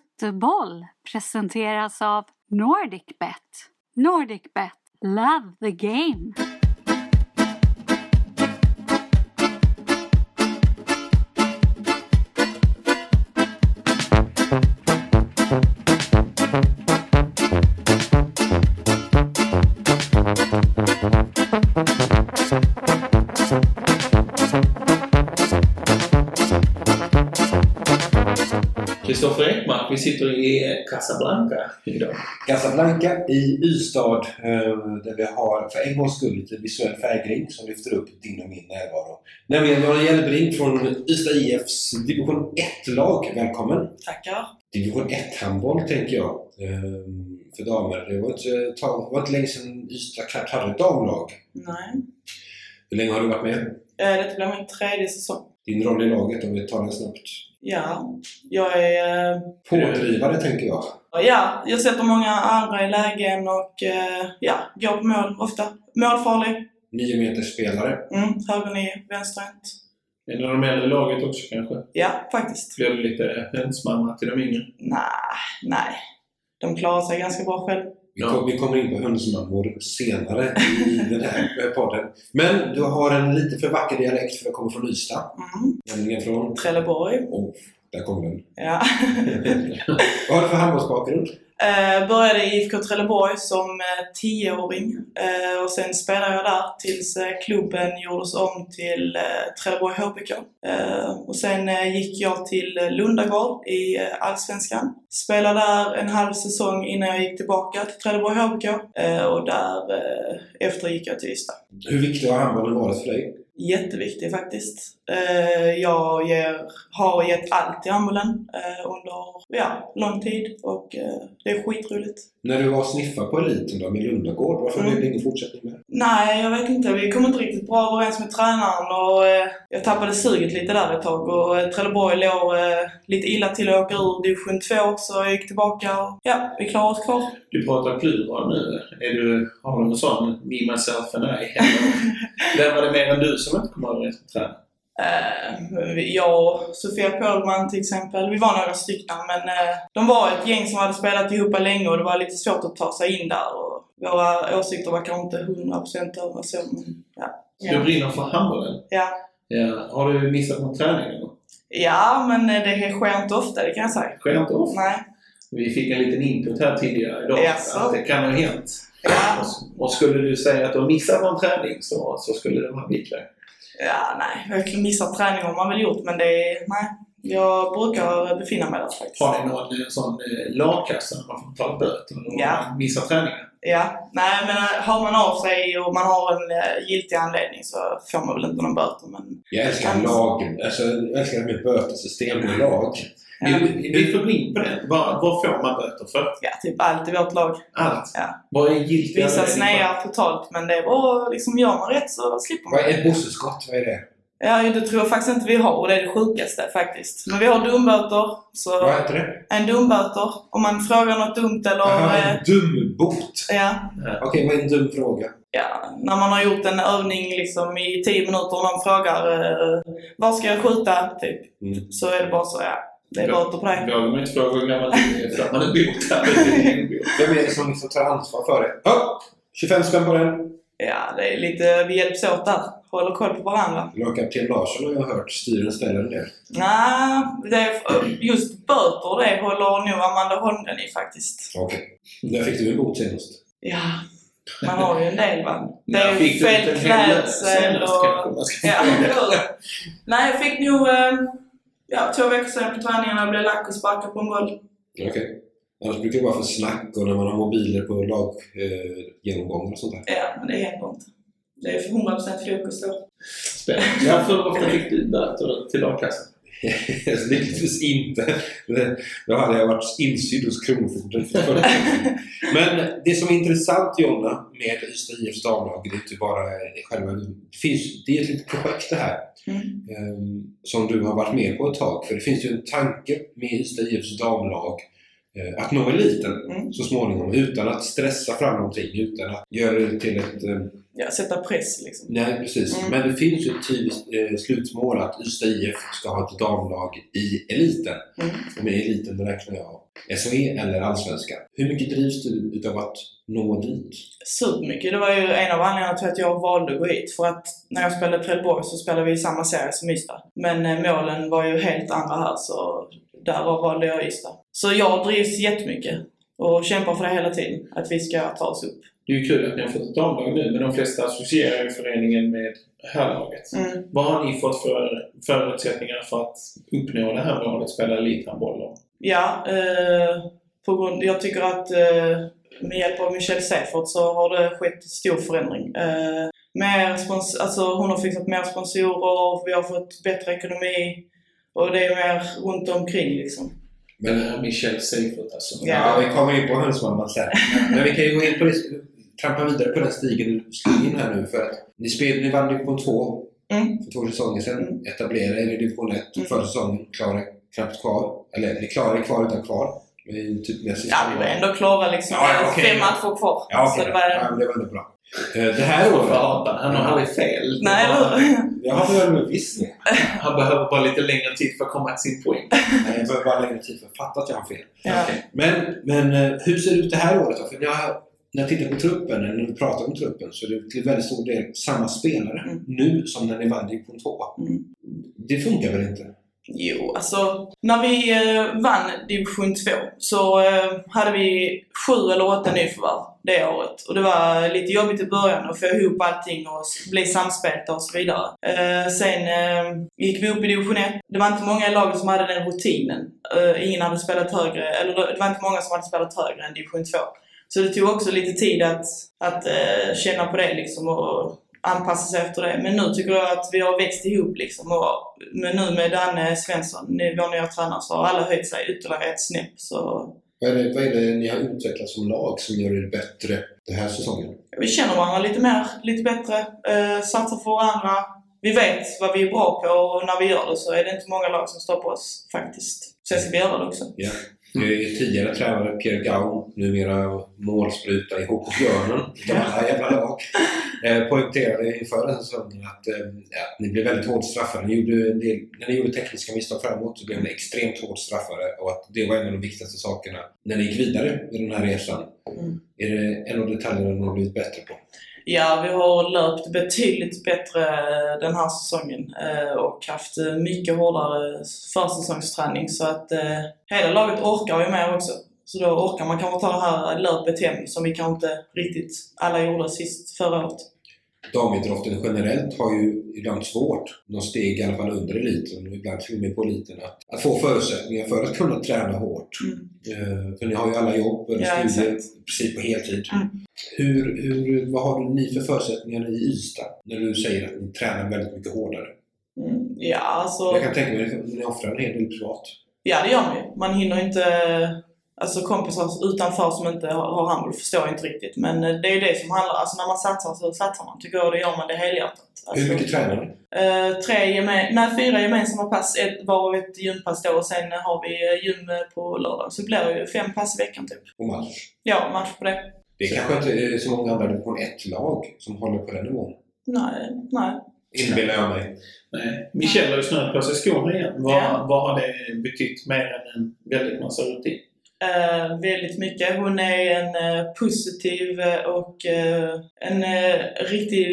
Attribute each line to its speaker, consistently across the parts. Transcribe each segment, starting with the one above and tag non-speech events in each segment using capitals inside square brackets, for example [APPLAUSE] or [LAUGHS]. Speaker 1: Fotboll presenteras av NordicBet. NordicBet, love the game!
Speaker 2: Kristoffer Ekmark, vi sitter i eh, Casablanca idag.
Speaker 3: Casablanca i Ystad eh, där vi har för en gångs skull lite visuell färggring som lyfter upp din och min närvaro. Nämligen Jan Hjälbrink från Ystad IFs division 1-lag. Välkommen!
Speaker 4: Tackar.
Speaker 3: Division 1-handboll tänker jag eh, för damer. Det var inte, ta, var inte länge sedan Ystad knappt hade ett damlag.
Speaker 4: Nej.
Speaker 3: Hur länge har du varit med?
Speaker 4: Eh, Detta blir min tredje säsong.
Speaker 3: Din roll i laget om vi tar den snabbt.
Speaker 4: Ja, jag är... eh,
Speaker 3: Pådrivare tänker jag.
Speaker 4: Ja, jag sätter många andra i lägen och eh, ja, går på mål ofta. Målfarlig.
Speaker 3: 9 meters spelare.
Speaker 4: Mm, höger nio, vänsterhänt.
Speaker 2: En av de äldre laget också kanske.
Speaker 4: Ja, faktiskt.
Speaker 2: Blev det lite hönsmamma till de yngre?
Speaker 4: Nej, nej. De klarar sig ganska bra själv.
Speaker 3: Vi,
Speaker 2: Ja.
Speaker 3: kom, vi kommer in på hönsmammor senare i den här eh, podden. Men du har en lite för vacker dialekt för att komma från Ystad.
Speaker 4: Mm.
Speaker 3: Nämligen från...
Speaker 4: Trelleborg.
Speaker 3: Oh, där kom den.
Speaker 4: Ja. [LAUGHS]
Speaker 3: Vad har du för handbollsbakgrund?
Speaker 4: Eh, började i IFK Trelleborg som eh, tioåring eh, och sen spelade jag där tills eh, klubben gjordes om till eh, Trelleborg HBK. Eh, och sen eh, gick jag till eh, Lundagård i eh, Allsvenskan. Spelade där en halv säsong innan jag gick tillbaka till Trelleborg HBK eh, och där eh, efter gick jag till Ystad.
Speaker 3: Hur viktig har handbollen varit för dig?
Speaker 4: Jätteviktig faktiskt. Eh, jag ger, har gett allt i ambulen eh, under ja, lång tid och eh, det är skitroligt.
Speaker 3: När du var sniffa på eliten då, med Lundagård, varför
Speaker 4: Mm.
Speaker 3: blev det ingen fortsättning med?
Speaker 4: Nej, jag vet inte. Vi kom inte riktigt bra överens med tränaren och eh, jag tappade suget lite där ett tag. Och eh, Trelleborg låg eh, lite illa till att åka ur division 2 också. Jag gick tillbaka och ja, vi klarade oss kvar.
Speaker 2: Du pratar plural nu. Är du, har du en sån me, myself and
Speaker 4: [LAUGHS]
Speaker 2: I? Eller- Där var det mer än du som inte kom överens med tränaren.
Speaker 4: Eh, vi- Jag och Sofia Pålman till exempel, vi var några stycken men eh, de var ett gäng som hade spelat ihop länge och det var lite svårt att ta sig in där. Och våra åsikter var kanske inte 100% överens om, men ja.
Speaker 2: Du brinner för handbollen.
Speaker 4: Ja.
Speaker 2: Ja. Har du missat någon träning? eller?
Speaker 4: ja, men eh, det sker inte ofta, det kan jag säga.
Speaker 2: Sker inte ofta.
Speaker 4: Nej.
Speaker 2: Vi fick en liten input här tidigare idag.
Speaker 4: Jaså?
Speaker 2: Att det kan ha hänt.
Speaker 4: Ja.
Speaker 2: Och- Och skulle du säga att du har missat någon träning så, så skulle det vara viktigare.
Speaker 4: Ja, nej. Jag missar träning har man väl gjort, men det är... Nej. Jag brukar befinna mig där faktiskt.
Speaker 2: Har ni någon eh, sån eh, lagkassa när man får betala böter om
Speaker 4: Ja.
Speaker 2: man missar träningen?
Speaker 4: Ja. Nej, men eh, hör man av sig och man har en eh, giltig anledning så får man väl inte någon böter, men...
Speaker 3: Jag älskar lag, alltså, jag älskar mitt bötessystem med lag.
Speaker 4: Mm. Ja,
Speaker 2: Vi, vi får gå in på det. Vad, vad får man böter för?
Speaker 4: ja, typ allt i vårt lag.
Speaker 2: Allt.
Speaker 4: Ja.
Speaker 2: Vad är giltiga
Speaker 4: Vissa
Speaker 2: anledningar för?
Speaker 4: snear totalt, men det är bara... Liksom, gör man rätt så slipper man.
Speaker 3: Vad är ett bosseskott? Vad är det?
Speaker 4: Ja, det tror jag faktiskt inte vi har och det är det sjukaste faktiskt. Men vi har dumböter, så...
Speaker 3: Vad heter det?
Speaker 4: En dumböter. Om man frågar något dumt eller...
Speaker 3: Aha,
Speaker 4: eh,
Speaker 3: en dum bot!
Speaker 4: Ja,
Speaker 3: Okej, vad är en dum fråga?
Speaker 4: ja, när man har gjort en övning liksom i 10 minuter och någon frågar eh, var ska jag skjuta? Typ.
Speaker 3: Mm.
Speaker 4: Så är det bara så, ja. Det är
Speaker 2: Ja.
Speaker 4: böter på dig.
Speaker 2: Vågar man inte fråga hur gammal du är för att man är bot här. Det är en bot.
Speaker 3: Vem är det som liksom tar ansvar för det? Ja, 25 spänn på den!
Speaker 4: Ja, det är lite, vi hjälps åt där. Håller koll på varandra.
Speaker 3: Lagkapten Larsson har jag hört styr en ställer en del.
Speaker 4: Nej, det är, just böter det håller nog Amanda Holmgren i faktiskt.
Speaker 3: Okej. Mm. Där fick du en bot senast.
Speaker 4: Ja, man har ju en del va. Det
Speaker 2: När
Speaker 4: är ju
Speaker 2: fick du
Speaker 4: fel
Speaker 2: ut en hel lön
Speaker 4: klädsel
Speaker 2: senast kanske
Speaker 4: och...
Speaker 2: man ska-
Speaker 4: Ja, Nej, jag fick nog eh, ja, två veckor sedan på träningen när jag blev lack och sparkade på en boll.
Speaker 3: Okej. Annars brukar det vara för snack och när man har mobiler på laggenomgångar eh, genomgångar och sånt där.
Speaker 4: Ja, men det händer inte. Det är för 100% fokus då.
Speaker 2: Spännande. Ja, för ofta fick du böter till lagkassan?
Speaker 3: [LAUGHS] Lyckligtvis inte. Det- Då hade jag varit insydd hos
Speaker 4: [LAUGHS]
Speaker 3: Kronofogden. för förra gången. Men det som är intressant Jonna med Ystad IFs damlag, det är inte bara själva... Det, finns, det är ett litet projekt det här.
Speaker 4: Mm.
Speaker 3: eh, som du har varit med på ett tag. För det finns ju en tanke med Ystad IFs damlag eh, att nå eliten
Speaker 4: Mm.
Speaker 3: så småningom utan att stressa fram någonting, utan att göra det till ett... Eh,
Speaker 4: Ja, sätta press liksom.
Speaker 3: nej, precis.
Speaker 4: Mm.
Speaker 3: Men det finns ju ett tydligt eh, slutmål att Ystad IF ska ha ett damlag i eliten.
Speaker 4: Mm.
Speaker 3: Och med eliten då räknar jag SHE eller Allsvenskan. Hur mycket drivs du utav att nå dit?
Speaker 4: Supermycket. Det var ju en av anledningarna till att jag valde att gå hit. För att när jag spelade i Trelleborg så spelade vi i samma serie som Ystad. Men eh, målen var ju helt andra här, så därav valde jag Ystad. Så jag drivs jättemycket och kämpar för det hela tiden, att vi ska ta oss upp.
Speaker 2: Det är ju kul att ni har fått ett damlag nu, men de flesta associerar ju föreningen med herrlaget.
Speaker 4: Mm.
Speaker 2: Vad har ni fått för förutsättningar för att uppnå det här målet, spela elithandboll? och-
Speaker 4: Ja, eh, på grund, jag tycker att eh, med hjälp av Michelle Seifert så har det skett stor förändring. Eh, mer spons, alltså hon har fixat mer sponsorer, vi har fått bättre ekonomi och det är mer runt omkring liksom.
Speaker 2: Men det här Michel Seifert alltså.
Speaker 4: Ja.
Speaker 3: Ja, vi kommer in på hennes mamma sen. Men vi kan ju gå in på det, trampa vidare på den stigen du slog in här nu. För att ni, spelade, ni vann division 2
Speaker 4: Mm.
Speaker 3: för två säsonger sedan.
Speaker 4: Mm.
Speaker 3: Etablerade er i division 1
Speaker 4: Mm.
Speaker 3: förra säsongen. Klarade knappt kvar. Eller ni klarade kvar utan kvar. Men typ med sista
Speaker 4: Ja, vi var ändå klara liksom.
Speaker 3: Ja, ja, okej.
Speaker 4: Fem matcher kvar.
Speaker 3: Ja,
Speaker 4: Så
Speaker 3: okej.
Speaker 4: det var...
Speaker 3: ja, men det var ändå bra. Eh, Det här
Speaker 2: Varför
Speaker 3: året...
Speaker 2: hatar Han Han har aldrig fel.
Speaker 4: Nej,
Speaker 2: Det är bara-
Speaker 4: eller hur?
Speaker 3: Jag har väl visst det.
Speaker 2: Han behöver bara lite längre tid för att komma till sin poäng.
Speaker 3: Nej, Eh, Jag behöver bara lägga tid för att fatta att jag har fel.
Speaker 4: Ja.
Speaker 3: Men, men eh, hur ser det ut det här året då? För jag, när jag tittar på truppen, eller när vi pratar om truppen, så är det till väldigt stor del samma spelare
Speaker 4: Mm.
Speaker 3: nu som när ni vann division 2.
Speaker 4: Mm.
Speaker 3: Det funkar väl inte?
Speaker 4: Jo, alltså när vi eh, vann division 2 så eh, hade vi sju eller åtta nyförvärv det året. Och det var lite jobbigt i början att få ihop allting och s- bli samspelta och så vidare. Eh, sen eh, gick vi upp i division 1. Det var inte många i laget som hade den rutinen. Eh, ingen hade spelat högre, eller det var inte många som hade spelat högre än division 2. Så det tog också lite tid att, att eh, känna på det liksom och anpassa sig efter det. Men nu tycker jag att vi har växt ihop liksom. Och, men nu med Danne Svensson, nu- vår nya tränare, så har alla höjt sig ytterligare ett snäpp. Så
Speaker 3: Vad är, det, vad är det ni har utvecklat som lag som gör er bättre den här säsongen?
Speaker 4: vi känner varandra lite mer, lite bättre, eh, satsar på varandra. Vi vet vad vi är bra på och när vi gör det så är det inte många lag som står på oss faktiskt. Sen ska vi göra det också.
Speaker 3: Jag är tidigare tränare Pierre Gaum, numera målspruta i HK Björnen, utav alla jävla lag. Eh, poängterade inför den här säsongen att, eh, att ni blev väldigt hårt straffade. Ni gjorde, en del- när ni gjorde tekniska misstag framåt så blev ni extremt hårt straffade och att det var en av de viktigaste sakerna när ni gick vidare i den här resan.
Speaker 4: Mm.
Speaker 3: Är det en av detaljerna ni har blivit bättre på?
Speaker 4: Ja, vi har löpt betydligt bättre eh, den här säsongen eh, och haft eh, mycket hårdare försäsongsträning så att eh, hela laget orkar ju mer också. Så då orkar man kanske ta det här löpet hem som vi kanske inte riktigt alla gjorde sist förra året.
Speaker 3: damidrotten generellt har ju ibland svårt, någon steg i alla fall under eliten och ibland till och med på eliten, att, att få förutsättningar för att kunna träna hårt.
Speaker 4: Mm.
Speaker 3: Eh, för ni har ju alla jobb eller
Speaker 4: Ja,
Speaker 3: studier precis på heltid.
Speaker 4: Mm.
Speaker 3: Hur, hur, vad har ni för förutsättningar i Ystad när du säger att ni tränar väldigt mycket hårdare?
Speaker 4: Mm. Ja, alltså...
Speaker 3: Jag kan tänka mig att ni offrar en hel del privat.
Speaker 4: Ja, det gör man ju. Man hinner inte... Alltså kompisar utanför som inte har har handboll förstår jag inte riktigt. Men eh, det är ju det som handlar... Alltså när man satsar så satsar man. Tycker jag, då gör man det helhjärtat. Alltså,
Speaker 3: Hur mycket tränar ni?
Speaker 4: eh, tre gemen, nej, fyra gemensamma pass, ett, varav ett gympass då och sen eh, har vi eh, gym eh, på lördag. Så det blir ju fem pass i veckan typ.
Speaker 3: på match?
Speaker 4: Ja, match på det.
Speaker 3: Det är kanske inte är så många andra division 1-lag som håller på den nivån.
Speaker 4: Nej, nej.
Speaker 3: Inbillar jag mig.
Speaker 2: Nej. Michel har ju snöat på sig skorna igen. Vad,
Speaker 4: Ja.
Speaker 2: vad har det betytt mer än en väldigt massa rutin?
Speaker 4: Eh, väldigt mycket. Hon är en eh, positiv eh, och eh, en eh, riktig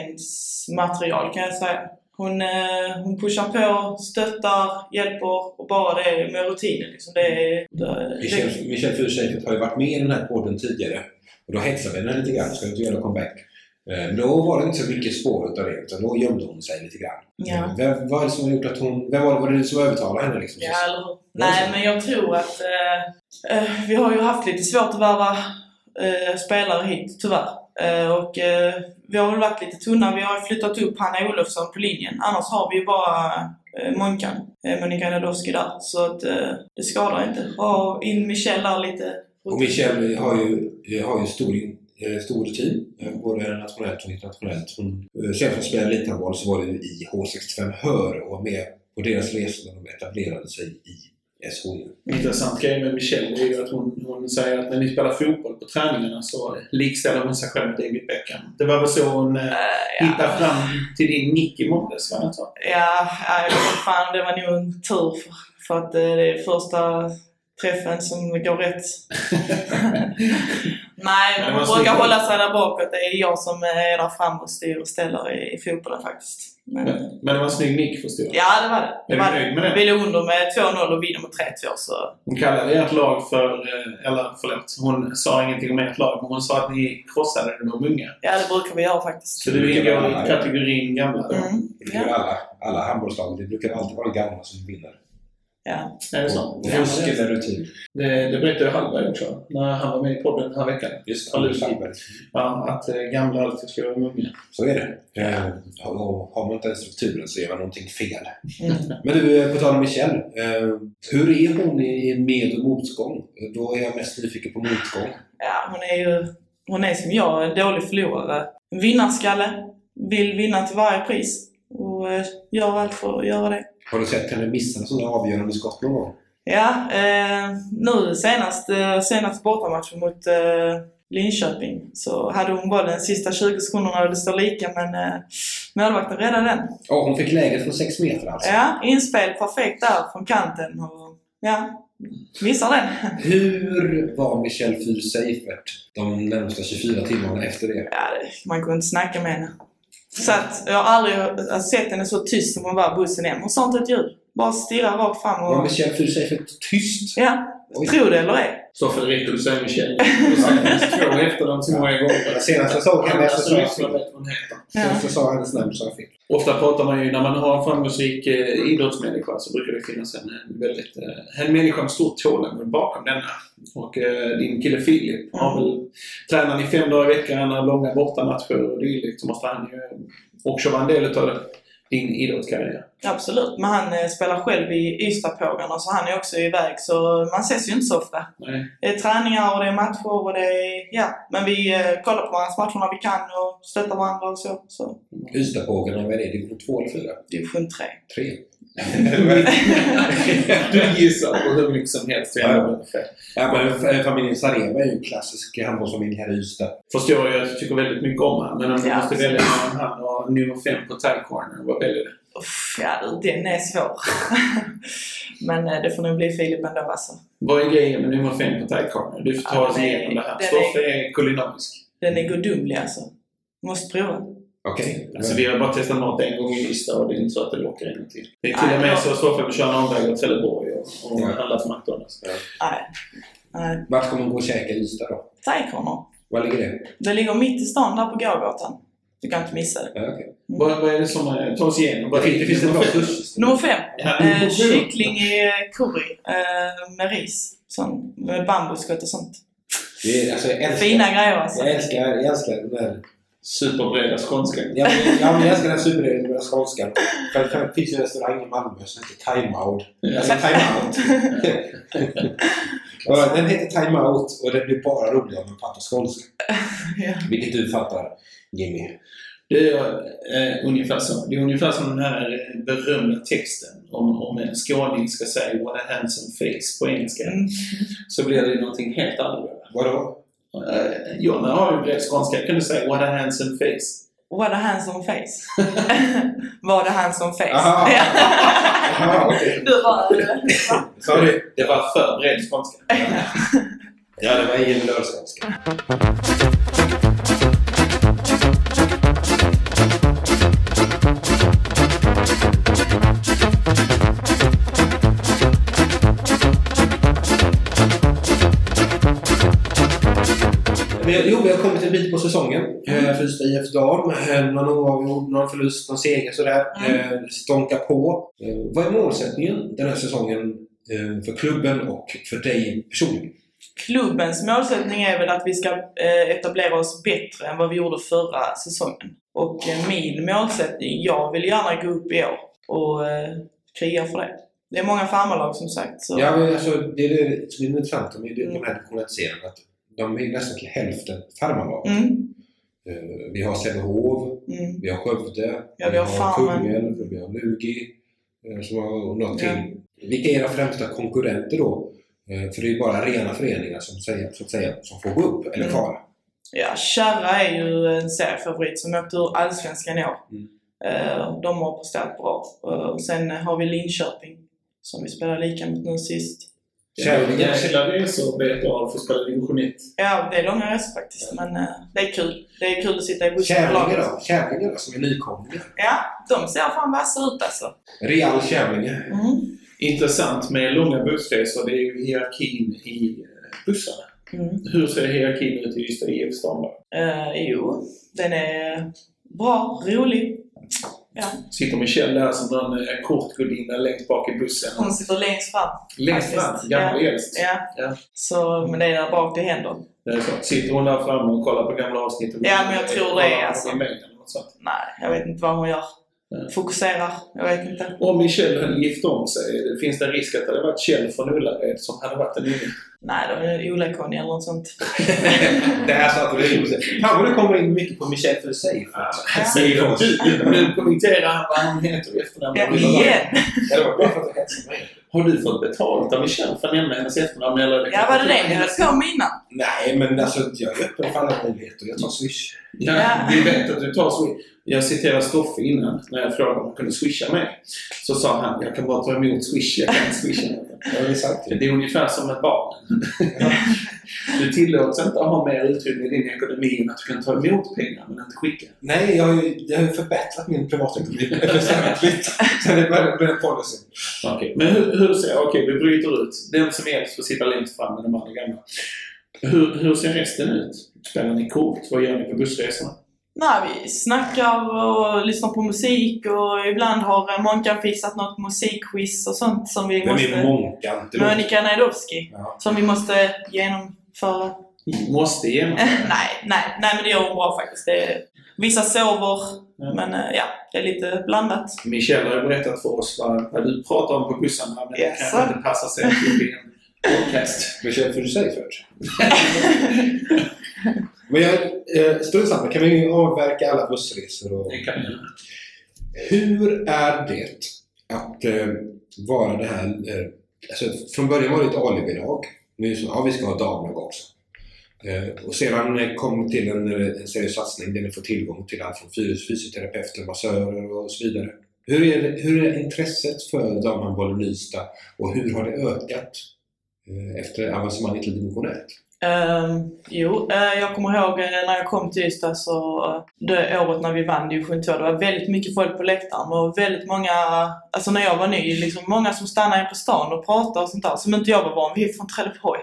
Speaker 4: lagkaptensmaterial kan jag säga. Hon, eh, hon pushar på, stöttar, hjälper och bara det med rutinen. Liksom. Det, är- det,
Speaker 3: Michel, Michel Furuseiffert har ju varit med i den här podden tidigare och då hetsade vi henne lite grann, ska du inte göra comeback? Eh, Men då var det inte så mycket spår utav det, utan då gömde hon sig lite grann.
Speaker 4: ja.
Speaker 3: Eh, Vem, vad är det som har gjort att hon... Vem var det, var det du som övertalade henne? Liksom?
Speaker 4: Ja, eller hur? Nej, men jag tror att eh, eh, vi har ju haft lite svårt att värva eh, spelare hit, tyvärr. Eh, och eh, vi har väl varit lite tunna. Vi har ju flyttat upp Hanna Olofsson på linjen. Annars har vi ju bara eh, Monkan, eh, Monica Nadowski där. Så att eh, det skadar inte. Och in Michelle där lite.
Speaker 3: Och Michel har ju, har ju stor, in- eh, stor team, eh, både nationellt och internationellt. Hon, eh, senast hon spelade elithandboll så var det ju i H65 Hör och var med på deras resor när de etablerade sig i SHU.
Speaker 2: Intressant grej med Michelle är ju att hon, hon säger att när ni spelar fotboll på träningarna så likställer hon sig själv med David Beckham. Det var väl så hon eh,
Speaker 4: Ah, ja.
Speaker 2: hittade fram till din nick i måndags, var det inte så?
Speaker 4: Ja, nej, jag vet inte fan, det var nog en tur. För, för att eh, det är första träffen som går
Speaker 2: [LAUGHS]
Speaker 4: rätt. Nej,
Speaker 2: Men
Speaker 4: men
Speaker 2: det var
Speaker 4: man brukar
Speaker 2: snyggt.
Speaker 4: hålla sig där bakåt. Det är jag som är där fram och styr och ställer i, i fotbollen faktiskt. Men,
Speaker 2: Men, men det var en snygg nick förstår jag.
Speaker 4: Mm. ja, det var det. det,
Speaker 2: Är
Speaker 4: var
Speaker 2: du
Speaker 4: det.
Speaker 2: nöjd med
Speaker 4: Vi
Speaker 2: det?
Speaker 4: låg under med 2-0 och vinner med 3-2 så...
Speaker 2: Hon kallade ert lag för, eh, eller förlåt, hon sa ingenting om ert lag, men hon sa att ni krossade de unga.
Speaker 4: Ja, det brukar vi göra faktiskt.
Speaker 2: Så du ingår i
Speaker 3: Ja.
Speaker 2: kategorin gamla då?
Speaker 4: Mm.
Speaker 3: Det brukar alla, alla handbollslag. Det brukar alltid vara de gamla som vinner.
Speaker 4: Ja.
Speaker 2: Är det så?
Speaker 3: Fusk eller rutin.
Speaker 2: Det, det berättade Hallberg också, när han var med i podden den här veckan.
Speaker 3: Just
Speaker 2: Har du-
Speaker 3: det.
Speaker 2: Ja, att eh, gamla alltid ska vara unga.
Speaker 3: Så är det. Eh, och Har man inte den strukturen så gör man någonting fel.
Speaker 4: Mm.
Speaker 3: Men du, eh, på tal om Michelle. Eh, hur är hon i med och motgång? Eh, Då är jag mest nyfiken på motgång.
Speaker 4: ja, hon är ju... Hon är som jag, en dålig förlorare. En vinnarskalle. Vill vinna till varje pris. Och eh, gör allt för att göra det.
Speaker 3: Har du sett henne missa sådana avgörande skott någon gång?
Speaker 4: Ja, eh, nu senast, eh, senast bortamatchen mot eh, Linköping så hade hon bollen sista 20 sekunderna och det står lika men eh, målvakten räddade den.
Speaker 3: Ja, hon fick läget från sex meter alltså.
Speaker 4: Ja, inspel perfekt där från kanten och ja, missar den.
Speaker 3: Hur var Michelle Fyr Seifert de närmsta 24 timmarna efter det?
Speaker 4: Ja, det- man kunde inte snacka med henne. Så att jag har aldrig eh, sett henne så tyst som hon var i bussen hem. Hon sa inte ett ljud. Bara stirrade rakt fram
Speaker 3: Var
Speaker 4: och...
Speaker 3: Michelle Fyr Seifert tyst?
Speaker 4: Ja,
Speaker 3: Oj.
Speaker 4: tro det eller ej.
Speaker 2: Så Federico, du säger [LAUGHS] Michel. Du säger två efter dem så många gånger.
Speaker 3: Senast jag såg henne efter så
Speaker 2: Andra
Speaker 3: jag
Speaker 2: som
Speaker 3: fel.
Speaker 2: vet vad hon heter.
Speaker 3: Senast jag sa hennes namn så jag fel.
Speaker 2: Ofta pratar man ju, när man har en framgångsrik eh, idrottsmänniska så brukar det finnas en, eh, väldigt, eh, en människa med stort tålamod bakom denna. Och eh, din kille Filip, har
Speaker 4: Mm.
Speaker 2: väl, tränar ni fem dagar i veckan, har långa bortamatcher och dylikt så måste han ju också vara en del av din idrottskarriär.
Speaker 4: Absolut, men han eh, spelar själv i Ystadpågarna så han är också iväg så man ses ju inte så ofta.
Speaker 3: [LAUGHS]
Speaker 2: Nej.
Speaker 4: Det är träningar och det är matcher och det är... Ja, men vi eh, kollar på varandras matcher när vi kan och stöttar varandra och så. så.
Speaker 3: Ystadpågarna, vad är det? Division 2 eller 4?
Speaker 4: Division 3.
Speaker 3: 3?
Speaker 2: Du gissar på hur mycket som helst.
Speaker 3: Ja, ja. ja, men f- eh, familjen Sareva är ju en klassisk handbollsfamilj här i Ystad.
Speaker 2: Förstår ju att du tycker väldigt mycket om honom, men om du
Speaker 4: Ja.
Speaker 2: måste välja mellan han och nummer fem på Tag Corner, vad väljer du?
Speaker 4: Uff, ja du, den är svår. [LAUGHS] men eh, det får nog bli Filip ändå alltså.
Speaker 2: Vad är grejen med nummer fem på Tag Corner? Du får ta
Speaker 4: Ja,
Speaker 2: oss
Speaker 4: den är-
Speaker 2: igenom det här.
Speaker 4: den är-
Speaker 2: Stoffe är kulinarisk.
Speaker 4: Den är gudomlig alltså. Måste prova.
Speaker 3: Okej.
Speaker 2: Alltså, vi har bara testat mat en gång i Ystad och det är inte så att det lockar en gång till. Det är till
Speaker 4: Nej,
Speaker 2: och med
Speaker 4: ja.
Speaker 2: så att Stoffe får köra en omväg åt Trelleborg och, och
Speaker 3: Ja.
Speaker 2: handla på McDonalds.
Speaker 4: Nej. Nej.
Speaker 3: Vart ska man gå och käka i Ystad då?
Speaker 4: Trädkronor.
Speaker 3: Var ligger det?
Speaker 4: Det ligger mitt i stan där på gågatan. Du kan inte missa det.
Speaker 3: Ja, okej.
Speaker 2: Vad, vad är det som eh, tar oss igenom? Vad
Speaker 3: Det, finns, det finns en bra sushi.
Speaker 4: Nummer fem.
Speaker 2: Ja,
Speaker 4: Eh,
Speaker 2: nummer sju.
Speaker 4: kyckling i eh, curry eh, med ris. Sån, med bambuskott och sånt.
Speaker 3: Det är, alltså, jag, älskar,
Speaker 4: Fina grejer alltså. [LAUGHS]
Speaker 3: jag, älskar, jag älskar den där...
Speaker 2: Superbreda skånska.
Speaker 3: Ja, men- ja, men jag älskar den superregeln skånskan. För för det finns ju en restaurang i Malmö som heter Time Out. Alltså Time
Speaker 4: [LAUGHS]
Speaker 3: Out. Ja, den heter Time Out och den blir bara rolig om man pratar skånska.
Speaker 4: Ja.
Speaker 3: Vilket du fattar, Jimmy.
Speaker 2: Det är eh, ungefär så. Det är ungefär som den här eh, berömda texten om, om en skåning ska säga “What a handsome face” på engelska.
Speaker 4: Mm.
Speaker 2: Så blir det någonting helt annorlunda.
Speaker 3: Vadå?
Speaker 2: Eh, Jonna har ju bred skånska. Jag kunde säga “What a handsome face”.
Speaker 4: What a handsome face.
Speaker 3: [LAUGHS]
Speaker 4: Var det handsome face?
Speaker 3: Aha.
Speaker 4: [LAUGHS] Ja.
Speaker 3: Jaha, okej.
Speaker 4: du bara... Va?
Speaker 3: Sorry.
Speaker 2: Det var för bred skånska.
Speaker 3: Ja, det var ingen lörskånska. Men, jo, vi har kommit en bit på säsongen eh, för Ystad IF Dam. Eh, Någon oavgjord, någon förlust, någon seger sådär.
Speaker 4: Mm.
Speaker 3: Eh, Stånka på. Eh, Vad är målsättningen den här säsongen eh, för klubben och för dig personligen?
Speaker 4: Klubbens målsättning är väl att vi ska eh, etablera oss bättre än vad vi gjorde förra säsongen. Och eh, min målsättning, jag vill gärna gå upp i år och eh, kriga för det. Det är många farmarlag som sagt. Så,
Speaker 3: Ja, men alltså, det är det som är intressant med de
Speaker 4: Mm.
Speaker 3: här divisionerna att de är nästan till hälften farmarlag.
Speaker 4: Mm,
Speaker 3: Eh, Vi har Sävehof,
Speaker 4: mm.
Speaker 3: vi har Skövde,
Speaker 4: Ja, vi har Farmen.
Speaker 3: Kungälv, vi har Lugi eh, som har och något
Speaker 4: Ja.
Speaker 3: till. Vilka är era främsta konkurrenter då? Eh, För det är ju bara rena föreningar som, säger, så att säga, som får gå upp, eller
Speaker 4: Mm.
Speaker 3: kvala.
Speaker 4: ja Kärra är ju en seriefavorit som åkte ur Allsvenskan i år.
Speaker 3: Mm.
Speaker 4: Eh, de har presterat bra. Eh, och sen har vi Linköping som vi spelar lika mot nu sist.
Speaker 3: Kärringen.
Speaker 2: Jäkla resor bet av för att spela division 1.
Speaker 4: Ja, det är långa resor faktiskt, men eh, det är kul. Det är kul att sitta i bussen på
Speaker 3: Kävlinge
Speaker 4: laget.
Speaker 3: då? Kävlinge då, som är nykomlingar?
Speaker 4: Ja, de ser fan vassa ut alltså.
Speaker 3: Real Kävlinge. [LAUGHS]
Speaker 4: Mm.
Speaker 2: Intressant med långa bussresor, det är ju hierarkin i eh, bussarna.
Speaker 4: Mm.
Speaker 2: Hur ser hierarkin ut i Ystad IFs damlag?
Speaker 4: Eh, jo, den är bra, rolig.
Speaker 2: Sitter Michelle där som någon eh, kortgudinna längst bak i bussen.
Speaker 4: Hon sitter längst fram.
Speaker 2: Längst fram,
Speaker 4: Faktiskt,
Speaker 2: gammal äldst.
Speaker 4: Ja.
Speaker 2: Ja.
Speaker 4: Så, men det är där bak det händer.
Speaker 2: Det är så. Sitter hon där framme och kollar på gamla avsnitt? och-
Speaker 4: Ja, men jag tror det,
Speaker 2: kollar
Speaker 4: alltså.
Speaker 2: i mejlen eller något sånt.
Speaker 4: Nej, jag vet inte vad hon gör.
Speaker 2: Nej.
Speaker 4: Fokuserar. Jag vet inte.
Speaker 2: Om Michelle hade gift om sig, finns det en risk att det hade varit Kjell från Ullared som hade varit en yngre?
Speaker 4: Nej, de är olakunniga eller något sånt.
Speaker 3: Där satte du huvudet. Kanske det kommer in mycket på Michel för sig.
Speaker 4: Ja.
Speaker 3: Säger oss.
Speaker 2: Nu kommenterar han vad han heter i efternamn.
Speaker 4: Ja, igen!
Speaker 3: Ja, det var bra för att du hetsade mig.
Speaker 2: Har du fått betalt av Michelle för att nämna hennes efternamn? Eller
Speaker 4: Ja, var det det ni höll på med innan?
Speaker 3: Nej, men alltså jag är öppen för alla möjligheter. Jag tar Swish.
Speaker 2: Ja, vi vet att du tar Swish. Jag citerade Stoffe innan när jag frågade om han kunde swisha mig. Så sa han, jag kan bara ta emot swish, jag kan inte swisha.
Speaker 3: Ja, det är sant.
Speaker 2: Det är ungefär som ett
Speaker 4: [LAUGHS]
Speaker 2: barn. Du tillåts inte att ha mer utrymme i din ekonomi än att du kan ta emot pengar men inte skicka.
Speaker 3: Nej, jag har ju jag har ju förbättrat min privatekonomi väsentligt sen jag började med den policyn.
Speaker 2: Okej, men hur, hur ser... Okej, vi bryter ut. Den som helst får sitta längst fram med de andra gamla. Hur, hur ser resten ut? Spelar ni kort? Vad gör ni på bussresorna?
Speaker 4: Nej, vi snackar och lyssnar på musik och ibland har eh, Monkan fixat något musikquiz och sånt som vi
Speaker 3: Vem är
Speaker 4: måste...
Speaker 3: Månkan? Det låter-
Speaker 4: Monica Najdowski.
Speaker 3: Ja.
Speaker 4: Som vi måste genomföra.
Speaker 2: Måste genomföra.
Speaker 4: [LAUGHS] nej, nej, nej, men det gör hon bra faktiskt. Det är, vissa sover,
Speaker 2: Ja.
Speaker 4: men eh, ja, det är lite blandat.
Speaker 2: Michelle har ju berättat för oss vad, vad du pratar om på bussarna, men det
Speaker 4: Yes,
Speaker 2: kanske
Speaker 4: sir.
Speaker 2: inte passar sig att bli en podcast.
Speaker 3: Men kör för sig först. [LAUGHS] Men jag, eh, strunt samma, kan vi avverka alla bussresor? Och...
Speaker 2: Det kan vi göra.
Speaker 3: Hur är det att eh, vara det här... Eh, alltså, från början var det ett alibi-lag. Nu så, ja, vi ska ha damlag också. Eh, och sedan eh, kom det till en, eh, en seriös satsning där ni får tillgång till allt från fys- fysioterapeuter, massörer och så vidare. Hur är, det, hur är intresset för damhandbollen i Ystad och hur har det ökat eh, efter avancemanget till division 1?
Speaker 4: Ehm, jo, eh, jag kommer ihåg eh, när jag kom till Ystad så eh, det året när vi vann division 2, det var väldigt mycket folk på läktaren och väldigt många, alltså när jag var ny, liksom många som stannade på stan och pratade och sånt där som inte jag var van vid från [LAUGHS] Trelleborg.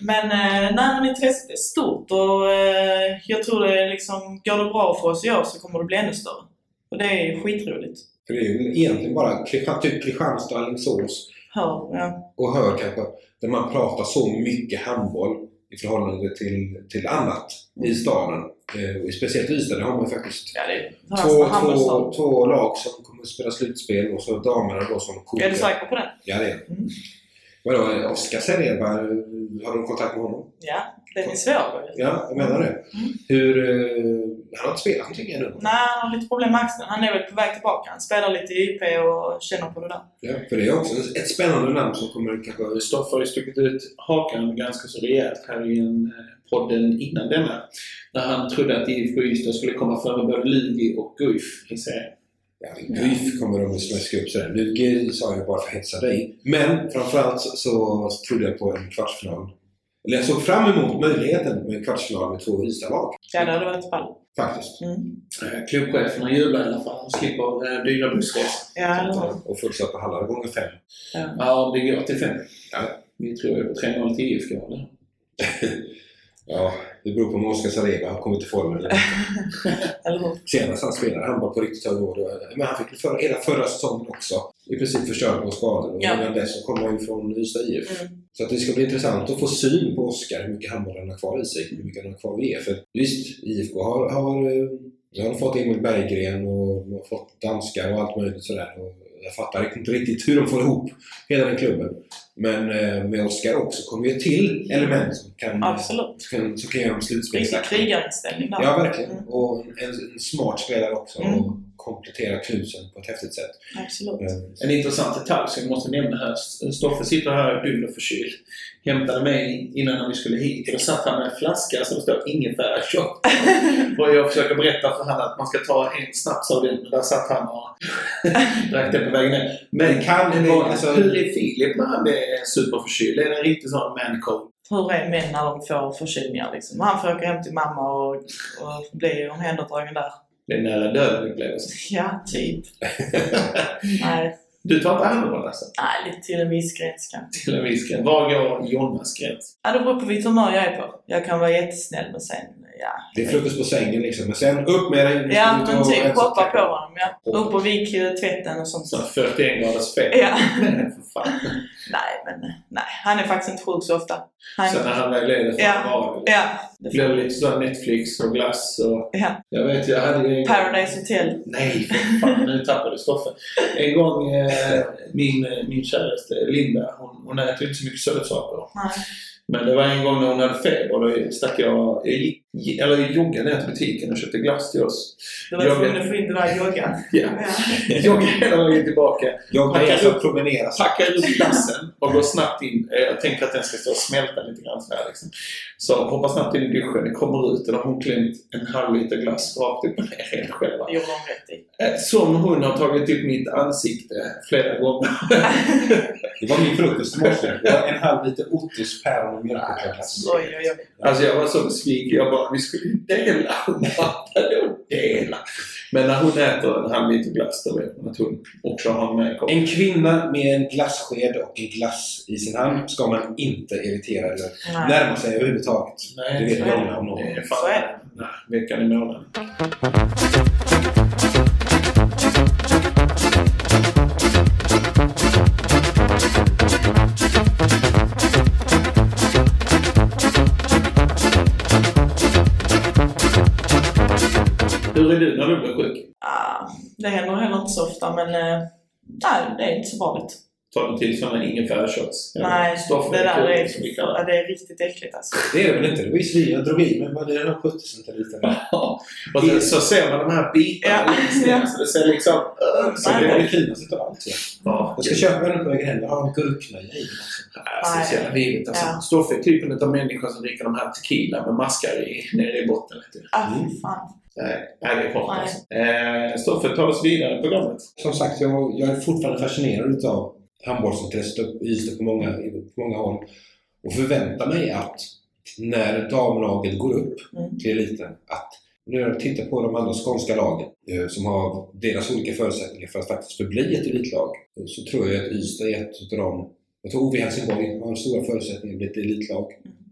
Speaker 4: Men eh, nej, men intresset är stort och eh, jag tror det är liksom, går det bra för oss i år så kommer det bli ännu större. Och det är skitroligt.
Speaker 3: För det är ju egentligen bara Kristian- typ Kristianstad och Alingsås
Speaker 4: Hör, ja.
Speaker 3: och hör kanske där man pratar så mycket handboll i förhållande till, till annat
Speaker 4: Mm.
Speaker 3: i staden. Eh, och speciellt i Ystad, där har man ju faktiskt
Speaker 4: Ja, det är
Speaker 3: två,
Speaker 4: värsta
Speaker 3: två,
Speaker 4: handbollsstad.
Speaker 3: två lag som kommer att spela slutspel och så damerna då som kokar.
Speaker 4: Är du säker på det?
Speaker 3: Ja, det är
Speaker 4: Mm.
Speaker 3: Vadå, eh, Oskar Sereba, eh, har du kontakt med honom?
Speaker 4: Ja, den är svår.
Speaker 3: Ja, jag menar det. Hur... Eh, han har inte spelat någonting ännu.
Speaker 4: Mm. Nej, han har lite problem med axeln. Han är väl på väg tillbaka. Han spelar lite i IP och känner på det där.
Speaker 3: Ja, för det är också ett spännande namn som kommer kanske...
Speaker 2: Stoffe har ju stuckit ut hakan ganska så rejält här i en eh, podden innan denna. När han trodde att IFK Ystad skulle komma före både Lugi och Guif i serien.
Speaker 3: Ja, Guif kommer de att smäska upp sådär. Lugi sa jag bara för att hetsa dig. Men framförallt så, så trodde jag på en kvartsfinal. Eller jag såg fram emot möjligheten med en kvartsfinal med två Ystadlag.
Speaker 4: Ja, det hade varit ball.
Speaker 3: Faktiskt.
Speaker 4: Mm.
Speaker 2: Eh, Klubbcheferna jublar i alla fall. De slipper eh, dyra bussresor.
Speaker 4: Ja, eller hur?
Speaker 3: Och fullsatta hallar gånger fem.
Speaker 2: Ja, om det går till fem.
Speaker 3: Ja.
Speaker 2: Vi tror ju på 3-0 till IFK. eller?
Speaker 3: Ja, det beror på om Oskar Sareba har kommit i form eller inte.
Speaker 4: Eller hur?
Speaker 3: Senast han spelade han var på riktigt hög nivå. då. Men han fick väl för, hela förra säsongen också i princip förstörd på skador. Och
Speaker 4: Ja.
Speaker 3: innan dess så kom han ju från Ystad IF.
Speaker 4: Mm.
Speaker 3: Så att det ska bli intressant att få syn på Oskar, hur mycket handboll han har kvar i sig, hur mycket han har kvar i er. För visst, IFK har, har, eh, nu har de fått Emil Berggren och de har fått danskar och allt möjligt sådär. Och jag fattar inte riktigt hur de får ihop hela den klubben. Men eh, med Oskar också kommer ju ett till element som kan,
Speaker 4: Absolut.
Speaker 3: som kan, som kan göra dem slutspel.
Speaker 4: Riktig krigarinställning där.
Speaker 3: Ja, verkligen.
Speaker 4: Mm.
Speaker 3: Och en, en smart spelare också.
Speaker 4: Mm.
Speaker 3: Och kompletterar klusen på ett häftigt sätt.
Speaker 4: Absolut.
Speaker 3: Eh,
Speaker 2: En intressant detalj som jag måste nämna här. Stoffe sitter här dunder förkyld. Hämtade mig innan när vi skulle hit och då satt han med en flaska som det står ingefära
Speaker 3: [LAUGHS]
Speaker 2: shot. Och jag försöker berätta för honom att man ska ta en snaps av den. Men där satt han och [LAUGHS] drack det på vägen ner. Men kan det vara...
Speaker 3: Alltså-
Speaker 2: hur är Filip när han är superförkyld? Är det en riktig sån man cold?
Speaker 4: Hur är män när de får förkylningar liksom? Han får åka hem till mamma och, och bli omhändertagen där. [LAUGHS]
Speaker 2: Det är nära döden upplevelse.
Speaker 4: Ja, typ. Nej,
Speaker 2: Du tar inte hand om honom alltså?
Speaker 4: nej, lite till en viss gräns kanske.
Speaker 2: Till en viss gräns. Var går Jonas gräns?
Speaker 4: Ja, det beror på vilket humör jag är på. Jag kan vara jättesnäll men sen, ja.
Speaker 3: Det är frukost på sängen liksom, men sen upp med dig! nu ska
Speaker 4: Ja,
Speaker 3: du ta
Speaker 4: men
Speaker 3: och
Speaker 4: typ
Speaker 3: rensa
Speaker 4: hoppa på
Speaker 3: trädgården.
Speaker 4: honom. Ja. Upp och vik eh, tvätten och sånt.
Speaker 2: Så 41 graders fel.
Speaker 4: Ja.
Speaker 2: Men [LAUGHS] för fan.
Speaker 4: Nej, men nej. Han är faktiskt inte sjuk så ofta. Han,
Speaker 2: Så när han väl är det får
Speaker 4: Ja.
Speaker 2: han vara det.
Speaker 4: ja,
Speaker 2: Det blev lite sådär Netflix och glass och...
Speaker 4: ja.
Speaker 2: Jag vet, jag hade ju... en gång-
Speaker 4: Paradise Hotel.
Speaker 2: Nej, för fan. Nu tappade du Stoffe. En gång eh, min, min käraste Linda, hon, hon äter inte så mycket sötsaker.
Speaker 4: Nej.
Speaker 2: Men det var en gång när hon hade feber. Då stack jag... Jag gick, eller jag joggade ner till butiken och köpte glass till oss.
Speaker 4: Du var
Speaker 2: Jag
Speaker 4: tvungen
Speaker 2: vet.
Speaker 4: att få in det där joggan.
Speaker 2: Ja.
Speaker 4: Ja.
Speaker 2: Jag joggade hela vägen tillbaka.
Speaker 3: Jag
Speaker 2: Packa
Speaker 3: kan alltså
Speaker 2: upp.
Speaker 3: promenera.
Speaker 2: packar ur glassen och går snabbt in. Eh, Jag tänker att den ska stå och smälta lite grann så här liksom. Så hoppar snabbt in i duschen, det kommer ut och då har hon klämt en halv liter glass rakt upp och ner helt själva.
Speaker 4: Det gjorde de
Speaker 2: [LAUGHS]
Speaker 4: rätt i.
Speaker 2: Eh, Som hon har tagit upp mitt ansikte flera gånger.
Speaker 3: Det var min frukost i morse.
Speaker 2: [LAUGHS]
Speaker 3: Det var en halv liter Ottos päron och
Speaker 2: Ah,
Speaker 3: mjölkchoklad.
Speaker 4: Oj, oj, oj.
Speaker 2: Alltså jag var så besviken. Jag bara, vi skulle ju dela. Hon bara, vadå dela? Men när hon äter en halv liter glass då vet man att hon också har med en kopp.
Speaker 3: En kvinna med en glassked och en glass i sin hand ska man inte irritera eller
Speaker 4: Nej.
Speaker 3: närma sig överhuvudtaget.
Speaker 2: Nej,
Speaker 3: Det vet
Speaker 2: så är
Speaker 3: Jonna om någon.
Speaker 2: Det är
Speaker 4: Så är
Speaker 2: fan, nej, veckan i månaden. Hur är du när du blir sjuk?
Speaker 4: Ah, det händer heller inte så ofta, men eh, nej, det är inte så vanligt.
Speaker 2: Tar du till sådana ingefärsshots? Eller
Speaker 4: Nej,
Speaker 2: stoff-
Speaker 4: det där
Speaker 2: kulor
Speaker 4: är,
Speaker 2: som vi kallar
Speaker 4: ja, det är riktigt äckligt alltså.
Speaker 3: Det är det väl inte? Det var ju svin. Jag drog i mig vad det var 70 centiliter.
Speaker 2: Ja, och sen så ser man de här bitarna
Speaker 4: Ja.
Speaker 2: längst ner. Så det ser liksom... äh,
Speaker 3: Så
Speaker 2: Så
Speaker 3: det var
Speaker 2: det,
Speaker 3: det finaste utav allt. ja.
Speaker 2: ja,
Speaker 3: Jag ska köpa en på vägen hem. Jag har en gurkmeja i.
Speaker 2: Alltså, det är så jävla vidrigt. Alltså.
Speaker 4: Ja.
Speaker 2: Stoffe är typen av människor som dricker de här tequila med maskar i, nere i botten. Vet du.
Speaker 4: Ah, fy fan.
Speaker 2: Nej, nej, det är hårt alltså. Eh, Stoffe, ta oss vidare i programmet.
Speaker 3: Som sagt, jag, jag är fortfarande fascinerad utav handbollsintresset upp- i Ystad på många, på många håll. Och förväntar mig att när damlaget går upp
Speaker 4: Mm.
Speaker 3: till eliten, att när jag tittar på de andra skånska lagen eh, som har deras olika förutsättningar för att faktiskt förbli ett elitlag, eh, så tror jag att Ystad är ett utav dem. Jag tror OB Helsingborg har stora förutsättningar att bli ett elitlag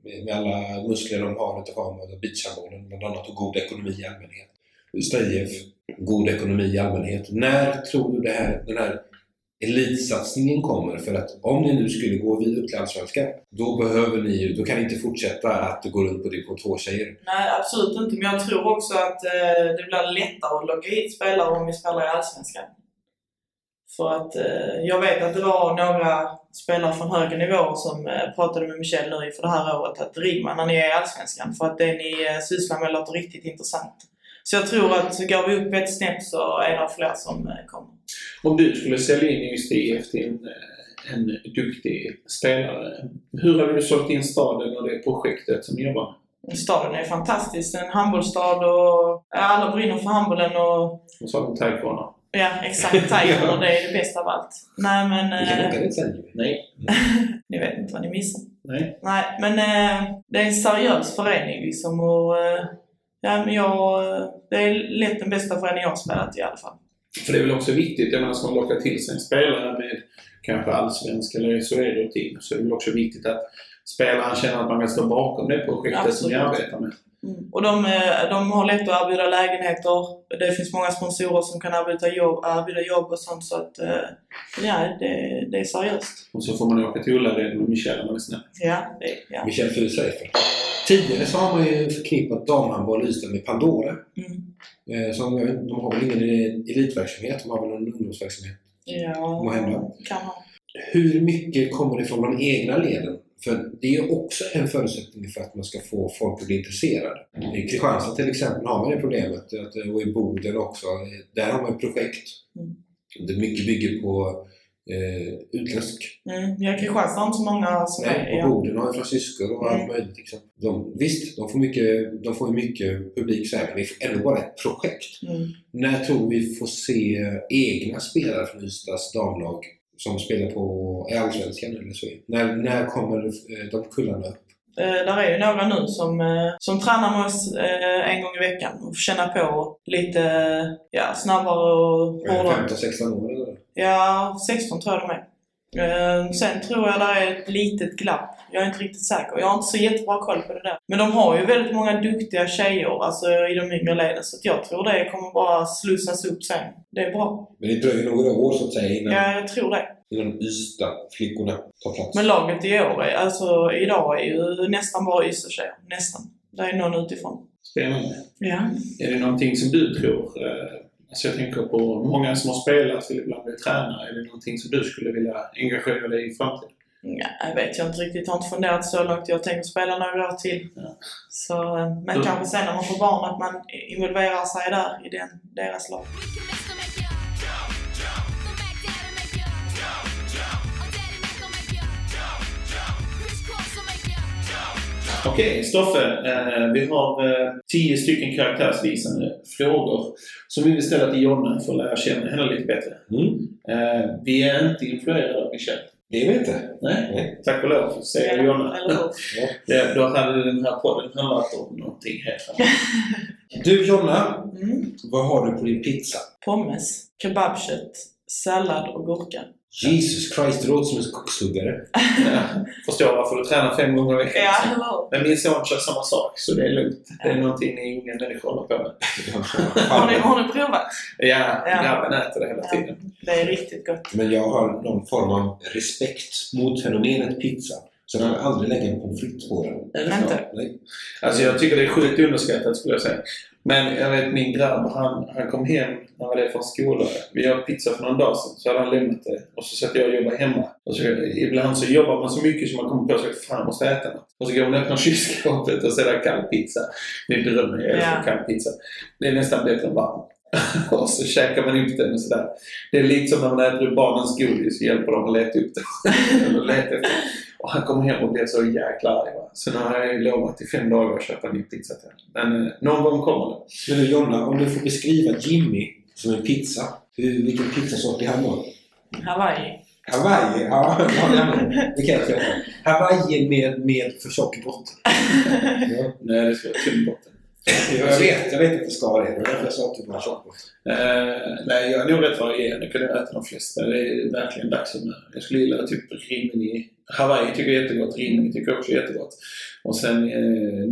Speaker 3: med, med alla muskler de har utav ramen och beachhandbollen bland annat och god ekonomi i allmänhet. Ystad IF god ekonomi i allmänhet. När tror du det här, den här elitsatsningen kommer? För att om ni nu skulle gå vid upp till Allsvenskan, då behöver ni ju, då kan ni inte fortsätta att gå runt på division 2-tjejer.
Speaker 4: Nej, absolut inte. Men jag tror också att eh, det blir lättare att logga hit spelare om vi spelar i Allsvenskan. För att eh, jag vet att det var några spelare från högre nivå som eh, pratade med Michel nu inför det här året att ring mig när ni är i Allsvenskan för att det ni eh, sysslar med låter riktigt intressant. Så jag tror att går vi upp ett snäpp så är det fler som eh, kommer.
Speaker 2: Om du skulle sälja in just IF till en, eh, en duktig spelare, hur har du sålt in staden och det projektet som ni jobbar med?
Speaker 4: Staden är fantastisk, en handbollsstad och ja, alla brinner för handbollen och
Speaker 2: Och så har de taekwondo.
Speaker 4: ja, exakt, tajten och det är det bästa av allt. Nej men...
Speaker 3: Ni kan
Speaker 4: eh,
Speaker 3: åka dit sen ju.
Speaker 2: Nej.
Speaker 4: Ni vet inte vad ni missar.
Speaker 2: Nej.
Speaker 4: Nej, men eh, det är en seriös förening liksom och eh, ja, men jag, eh, det är lätt den bästa förening jag har spelat i alla fall.
Speaker 2: För det är väl också viktigt, jag menar, ska man locka till sig en spelare med kanske allsvensk eller SHL-rutin, så är det väl också viktigt att spelaren känner att man vill stå bakom det projektet som ni
Speaker 4: Absolut.
Speaker 2: arbetar med.
Speaker 4: Och de, eh, de har lätt att erbjuda lägenheter. Det finns många sponsorer som kan erbjuda jobb, erbjuda jobb och sånt så att eh, ja, det, det är seriöst.
Speaker 2: Och så får man åka till Ullared med Michelle om man är snäll.
Speaker 4: Ja, det, ja.
Speaker 3: Michel Furuseifert. Tidigare så har man ju förknippat damhandboll i Ystad med Pandora.
Speaker 4: Mm.
Speaker 3: Eh, Som, jag vet- de har väl ingen eh, elitverksamhet, de har väl en ungdomsverksamhet.
Speaker 4: Ja,
Speaker 3: Måhända.
Speaker 4: kan man.
Speaker 3: Hur mycket kommer det från de egna leden? För det är också en förutsättning för att man ska få folk att bli intresserade. I Kristianstad till exempel har man det problemet, att- eh, och i Boden också. Där har man projekt. Det är mycket bygger på eh, utländsk
Speaker 4: Mm. Ja, Kristianstad har inte så många som är...
Speaker 3: Nej, och
Speaker 4: Ja.
Speaker 3: Boden har ju fransyskor och allt
Speaker 4: Mm.
Speaker 3: möjligt. Liksom. De, visst, de får, mycket, de får ju mycket publik så här, men det är ändå bara ett projekt.
Speaker 4: Mm.
Speaker 3: När tror vi får se egna spelare från Ystads damlag som spelar på i Allsvenskan eller så? När, när kommer eh, de kullarna upp?
Speaker 4: Eh, där är ju några nu som, eh, som tränar med oss eh, en gång i veckan och får känna på lite ja, snabbare och hårdare.
Speaker 3: 15-16 år eller?
Speaker 4: Ja, 16 tror jag de är. Eh, Sen tror jag det är ett litet glapp. Jag är inte riktigt säker. Jag har inte så jättebra koll på det där. Men de har ju väldigt många duktiga tjejer alltså, i de yngre leden. Så att jag tror det kommer bara slussas upp sen. Det är bra.
Speaker 3: Men det dröjer några år så att säga innan,
Speaker 4: Ja, jag tror det.
Speaker 3: innan Ystad-flickorna tar plats.
Speaker 4: Men laget i år, är, alltså idag är ju nästan bara Ystadtjejer. Nästan. Det är någon utifrån.
Speaker 2: Spännande.
Speaker 4: Ja.
Speaker 2: Är det någonting som du tror? eh, Alltså jag tänker på många som har spelat vill ibland bli tränare. Är det någonting som du skulle vilja engagera dig i i framtiden?
Speaker 4: Nej, jag vet jag inte riktigt. Jag har inte funderat så långt. Jag tänker spela några år till.
Speaker 2: Ja.
Speaker 4: Så, eh, men
Speaker 2: Mm.
Speaker 4: kanske sen när man får barn att man involverar sig där i den, deras lag.
Speaker 2: Okej, Stoffe. eh, Vi har eh, tio stycken karaktärsvisande frågor som vi vill ställa till Jonna för att lära känna henne lite bättre.
Speaker 3: Mm.
Speaker 2: Eh, Vi är inte influerade av Michelle.
Speaker 3: Det är vi inte.
Speaker 2: Nej,
Speaker 3: Nej.
Speaker 2: tack och lov, säger Jonna. [LAUGHS]
Speaker 4: Eller hur?
Speaker 3: Ja.
Speaker 2: Eh, Då hade den här podden handlat om någonting helt annat.
Speaker 3: Du Jonna,
Speaker 4: Mm.
Speaker 3: vad har du på din pizza?
Speaker 4: Pommes, kebabkött, sallad och gurka.
Speaker 3: Jesus Christ, det låter som en kokshuggare.
Speaker 2: Ja, Förstår varför du tränar fem gånger i veckan.
Speaker 4: Ja, eller hur?
Speaker 2: Men min son kör samma sak, så det är lugnt. Det är någonting ni unga människor håller på med.
Speaker 4: Har ni, har ni provat?
Speaker 2: Ja,
Speaker 4: Ja.
Speaker 2: grabben äter det hela
Speaker 4: Ja.
Speaker 2: tiden.
Speaker 4: Det är riktigt
Speaker 3: [LAUGHS]
Speaker 4: gott.
Speaker 3: Men jag har någon form av respekt mot fenomenet pizza. Så jag kan aldrig lägga en pommes frites på den.
Speaker 2: Är det så?
Speaker 4: Inte?
Speaker 3: Nej.
Speaker 2: Alltså jag tycker det är sjukt underskattat skulle jag säga. Men jag vet min grabb, han, han kom hem när han var det från skolan. Vi åt pizza för någon dag sedan, så hade han lämnat det. Och så satt jag och jobbade hemma. Och så, ibland så jobbar man så mycket så man kommer på att fan jag måste äta något. Och så går man och öppnar [LAUGHS] kylskåpet och så är det kall pizza. Det är drömmen, jag älskar
Speaker 4: Ja.
Speaker 2: kall pizza. Det är nästan bättre än varm. [LAUGHS] och så käkar man upp den och sådär. Det är lite som när man äter upp barnens godis, hjälper dem att leta upp det. [LAUGHS] Eller leta efter det. Och han kom hem och blev så jäkla arg. Va? Så nu har jag ju lovat i fem dagar att köpa en ny pizza till honom. Men eh, någon gång kommer det.
Speaker 3: Men du Jonna, om du får beskriva Jimmy som en pizza. Hur, vilken pizzasort är han då?
Speaker 4: Hawaii.
Speaker 3: Hawaii? Ja, ja, [LAUGHS] ja. det kan jag säga. Hawaii med, med för tjock botten. Ja.
Speaker 2: Nej, det ska vara tunn botten.
Speaker 3: Jag vet, jag vet att det ska det. Det var därför jag sa att det var tjock botten.
Speaker 2: Eh, nej, jag är nog rätt varierande. Jag kunde äta de flesta. Det är verkligen dags för mig. Jag skulle gilla typ rimini. Hawaii tycker jag är jättegott. Rimini tycker jag också är jättegott. Och sen eh,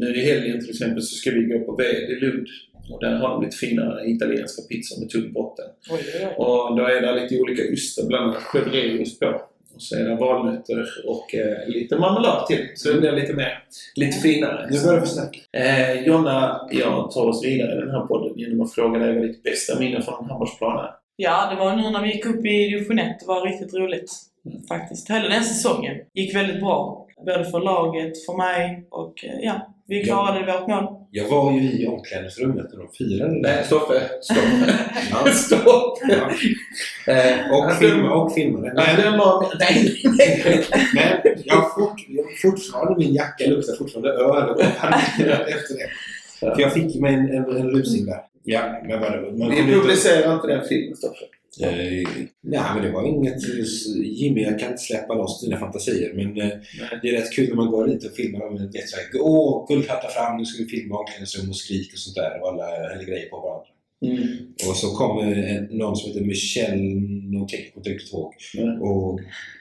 Speaker 2: nu i helgen till exempel så ska vi gå på Ved i Lund. Och där har de lite finare italienska pizzor med tunn botten.
Speaker 4: Oj, oj, oj.
Speaker 2: Och då är det lite olika ostar, bland annat chevreost på. Och så är det valnötter och eh, lite marmelad till. Så det blir lite mer, lite finare.
Speaker 3: Nu börjar vi snacka.
Speaker 2: Eh, Jonna, jag tar oss vidare i den här podden genom att fråga dig vad ditt bästa minne från handbollsplanen är.
Speaker 4: Ja, det var nu när vi gick upp i division 1. Det var riktigt roligt.
Speaker 2: Mm.
Speaker 4: Faktiskt. Hela den säsongen gick väldigt bra. Både för laget, för mig och eh, ja, vi klarade vårt mål.
Speaker 3: Jag var ju i omklädningsrummet när de firade det.
Speaker 2: Nej, Stoffe. [LAUGHS] Stopp.
Speaker 3: Ja.
Speaker 2: Stopp!
Speaker 3: Ja. Eh, Och filma och filmade.
Speaker 2: Nej, det var... Nej, nej, nej.
Speaker 3: [LAUGHS] Men jag har fort, jag har fortfarande, min jacka luktar fortfarande öl och [LAUGHS] pannor efter det. För jag fick ju mig en, en, en rusing där. Ja, men vadå? Man
Speaker 2: Vi publicerar inte den filmen, Stoffe.
Speaker 3: Eh, Nej, men det var inget... Jimmy, jag kan inte släppa loss dina fantasier. Men eh,
Speaker 2: Nej.
Speaker 3: det är rätt kul när man går dit och filmar. Och man vet, så här, Åh, guldhattar fram, nu ska vi filma omklädningsrum och skrik och sånt där. Och alla häller grejer på varandra.
Speaker 2: Mm.
Speaker 3: Och så kommer en- någon som heter Michelle någonting, jag kommer inte riktigt ihåg.
Speaker 2: Mm.
Speaker 3: Och,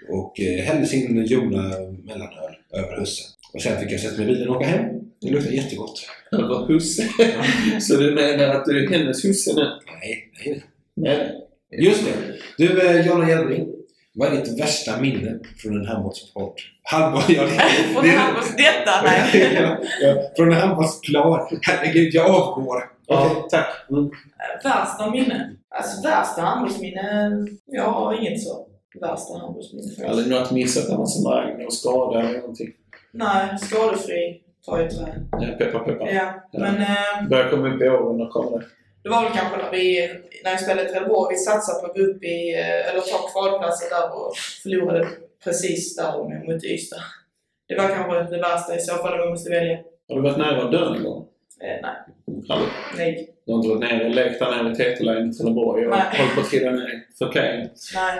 Speaker 3: och eh, hällde sin Jona mellanöl över hussen. Och sen fick jag sätta mig i bilen och åka hem. Det luktar jättegott.
Speaker 2: Över husse. [LAUGHS] Så du menar att du är hennes husse nu?
Speaker 3: Nej, nej.
Speaker 2: Nej.
Speaker 3: Just det. Du, eh, Jonna Hjelming. Vad är ditt värsta minne från en handbollsport? Handboll? Ja, det-
Speaker 4: Från
Speaker 3: det-
Speaker 4: Hampus detta? Nej.
Speaker 3: [LAUGHS] Ja, ja, från en handbollsplan. Herregud, jag avgår.
Speaker 2: Ja, tack.
Speaker 4: Värsta minne? Alltså värsta handbollsminne? Jag har inget så. värsta handbollsminnet.
Speaker 2: Aldrig något missat när man som ragg och skada eller någonting.
Speaker 4: Nej, skadefri tar ju trä.
Speaker 2: Ja, Peppar, peppar.
Speaker 4: Ja, men eh,
Speaker 2: Börjar komma upp i åren och kommer det.
Speaker 4: det var väl kanske när vi, när vi spelade i Trelleborg, vi satsade på att gå upp i, eh, eller ta kvalplatsen där och förlorade precis där och mot Ystad. Det var kanske det värsta i så fall, om man måste välja.
Speaker 2: Har du varit nära att dö någon gång?
Speaker 4: Eh, nej,
Speaker 2: Aldrig.
Speaker 4: nej,
Speaker 2: Du har inte varit nere och lekt där nere i Teteline i Trelleborg och
Speaker 4: Nej.
Speaker 2: hållit på att trilla ner för kajen?
Speaker 4: nej.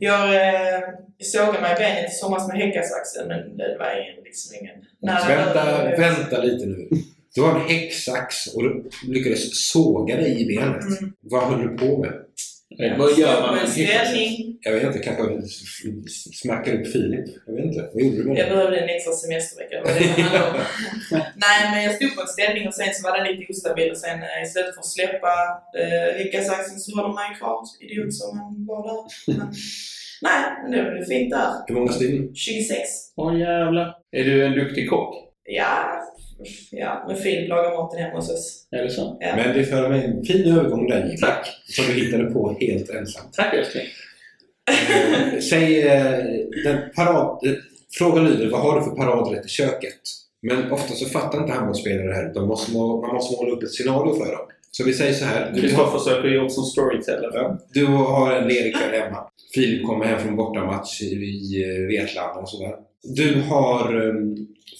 Speaker 4: Jag eh, sågade mig i benet i somras med häckasaxen, men det var ingen, liksom ingen... Nej,
Speaker 3: Vänta,
Speaker 4: det var-
Speaker 3: vänta lite nu. Du har en häcksax och du lyckades såga dig i benet.
Speaker 4: Mm.
Speaker 3: Vad höll du på med?
Speaker 2: Nej, Eh, Vad gör man?
Speaker 4: Såg
Speaker 2: med
Speaker 4: en
Speaker 2: en hit?
Speaker 4: Mm. ställning.
Speaker 3: Jag vet inte, kanske s- s- smackade upp Filip? Jag vet inte. Vad gjorde du med
Speaker 4: Jag
Speaker 3: det?
Speaker 4: behövde en extra
Speaker 2: [LAUGHS]
Speaker 4: semestervecka. det var det som handlade om. Nej, men jag stod på en ställning och sen så var den lite ostabil och sen eh, istället för att släppa eh, häckasaxen så var de mig kvar, idiot som han var där. Men, nej, men det blev fint där.
Speaker 3: Hur många stygn?
Speaker 4: 26.
Speaker 2: Åh jävlar. Är du en duktig kock?
Speaker 4: Ja, f- ja men Filip lagar maten hemma hos oss.
Speaker 2: Är det så?
Speaker 4: Ja.
Speaker 3: Men det för mig en fin övergång där Jimmy,
Speaker 2: Tack!
Speaker 3: som du hittade på helt ensam.
Speaker 2: Tack älskling!
Speaker 3: Eh, Säg, eh, den parad, eh, frågan lyder, vad har du för paradrätt i köket? Men ofta så fattar inte handbollsspelare det här, utan måste, må- man måste måla upp ett scenario för dem. Så vi säger så här. Du har,
Speaker 2: Kristoffer söker jobb som storyteller.
Speaker 3: Ja. du har en ledig kväll hemma. Filip kommer hem från bortamatch i, i eh, Vetlanda och sådär. Du har eh,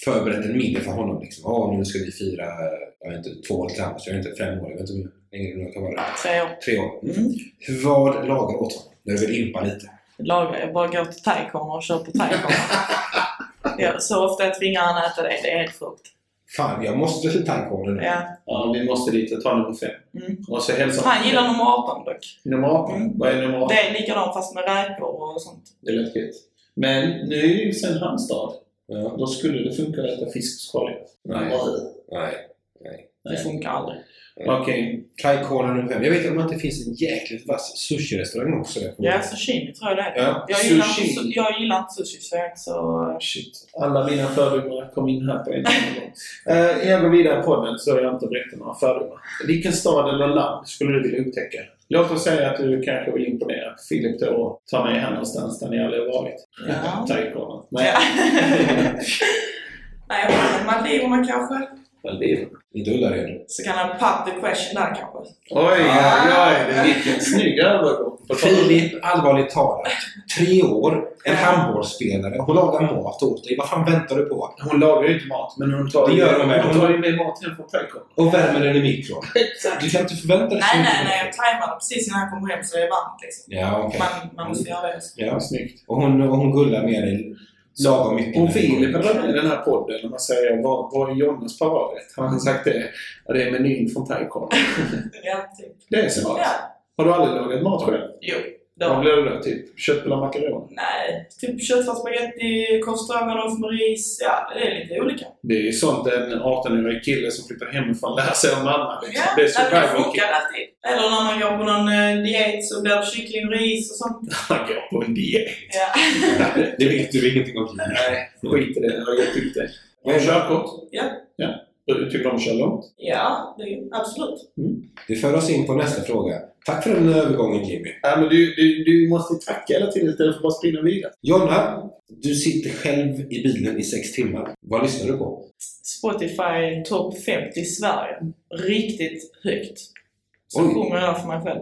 Speaker 3: förberett en middag för honom. Liksom. Åh, nu ska vi fira, eh, jag vet inte, två år tillsammans. Jag är inte fem år, jag vet inte hur länge det kan vara.
Speaker 4: Tre år.
Speaker 3: Tre år.
Speaker 4: Mm.
Speaker 3: Vad lagar du åt honom? När du vill impa lite.
Speaker 4: Lagar, jag bara går till thaikorna och köper
Speaker 3: [LAUGHS]
Speaker 4: thaikorna. ja, så ofta jag tvingar han äta det, det är helt sjukt.
Speaker 3: Fan, jag måste till tankgården nu.
Speaker 4: Ja.
Speaker 2: Ja, vi måste dit och ta nummer fem.
Speaker 4: Mm.
Speaker 2: Och så hälsar
Speaker 4: Han gillar nummer 18 dock.
Speaker 2: nummer 18.
Speaker 4: Mm.
Speaker 2: Vad är nummer 18?
Speaker 4: Det är likadant fast med räkor och sånt.
Speaker 2: Det lät gött. Men nu är det ju sen Halmstad.
Speaker 3: Ja.
Speaker 2: Då skulle det funka att äta fiskskål.
Speaker 3: Nej. Nej. Mm.
Speaker 4: Det funkar aldrig.
Speaker 2: Okej.
Speaker 3: Kai Corner nummer fem. Jag vet om att det finns en jäkligt vass sushi-restaurang också där på
Speaker 4: Ja, sashimi tror jag det är.
Speaker 3: Ja.
Speaker 4: Jag gillar,
Speaker 2: Sushi.
Speaker 4: inte, jag gillar inte sushi så, jag- så
Speaker 3: [LAUGHS]
Speaker 2: Shit. Alla mina fördomar kom in här på en [LAUGHS] gång. Eh, Jag går vidare i podden så jag inte berättar några fördomar. Vilken stad eller land skulle du vilja upptäcka? Låt oss säga att du kanske vill imponera Filip då och ta med henne någonstans där ni aldrig har varit.
Speaker 4: Ja. [LAUGHS]
Speaker 2: Thaikorven. Nej,
Speaker 4: ja. Nej, men Maldiverna kanske?
Speaker 2: Maldiverna.
Speaker 3: Inte Ullared.
Speaker 4: Så kan han pop the question där kanske.
Speaker 2: Oj, oj, oj. Vilken snygg övergång. På tal om-
Speaker 3: Filip, allvarligt talat. Tre år, en
Speaker 4: Ja.
Speaker 3: handbollsspelare. Hon lagar mat åt dig. Vad fan väntar du på?
Speaker 2: Hon lagar ju inte mat, men hon tar,
Speaker 3: Det gör hon väl.
Speaker 2: hon tar ju med mat hem från Thailand.
Speaker 3: Och värmer den i mikron.
Speaker 4: Exakt.
Speaker 3: Du kan inte förvänta dig så
Speaker 4: Typ Nej,
Speaker 3: mycket.
Speaker 4: nej, nej. Jag tajmar det precis innan han kommer hem så det är varmt liksom.
Speaker 3: Ja, okej.
Speaker 4: Man, man måste göra det. också.
Speaker 3: Ja.
Speaker 2: Snyggt.
Speaker 3: Och hon, och hon gullar med dig lagom mycket.
Speaker 2: Om Filip hade varit med i den här podden och man säger vad, vad är Jonnes paradrätt? Har han sagt det? Ja, det är menyn från Thailand.
Speaker 4: Ja, typ.
Speaker 2: Det är så alltså.
Speaker 4: Ja.
Speaker 2: Har du aldrig lagat mat själv?
Speaker 4: Jo.
Speaker 2: Vad
Speaker 4: Då.
Speaker 2: blir det då? Typ köttbullar och makaroner?
Speaker 4: Nej, typ köttfärs, spagetti, korv stroganoff med ris. Ja, det är lite olika.
Speaker 2: Det är ju sånt en 18-årig kille som flyttar hemifrån lär sig av mamma. Liksom.
Speaker 4: Ja,
Speaker 2: Det är
Speaker 4: nej, men det
Speaker 2: survival
Speaker 4: funkar alltid. Eller när man går på någon eh, diet så blir det kyckling och ris och sånt.
Speaker 2: Han går på en diet.
Speaker 4: Ja.
Speaker 3: Det vet du ingenting om.
Speaker 2: Nej, skit i det. Jag har gett upp det. Har du körkort?
Speaker 4: Ja.
Speaker 2: ja. Du tycker om att köra långt?
Speaker 4: ja, det, absolut.
Speaker 3: Det för oss in på nästa fråga. Tack för den övergången Jimmy.
Speaker 2: Ja, men du, du, du måste tacka hela tiden istället för att bara spinna vidare.
Speaker 3: Jonna, du sitter själv i bilen i sex timmar. Vad lyssnar du på?
Speaker 4: Spotify topp 50 i Sverige. Riktigt högt. Så
Speaker 3: Oj.
Speaker 4: sjunger jag för mig själv.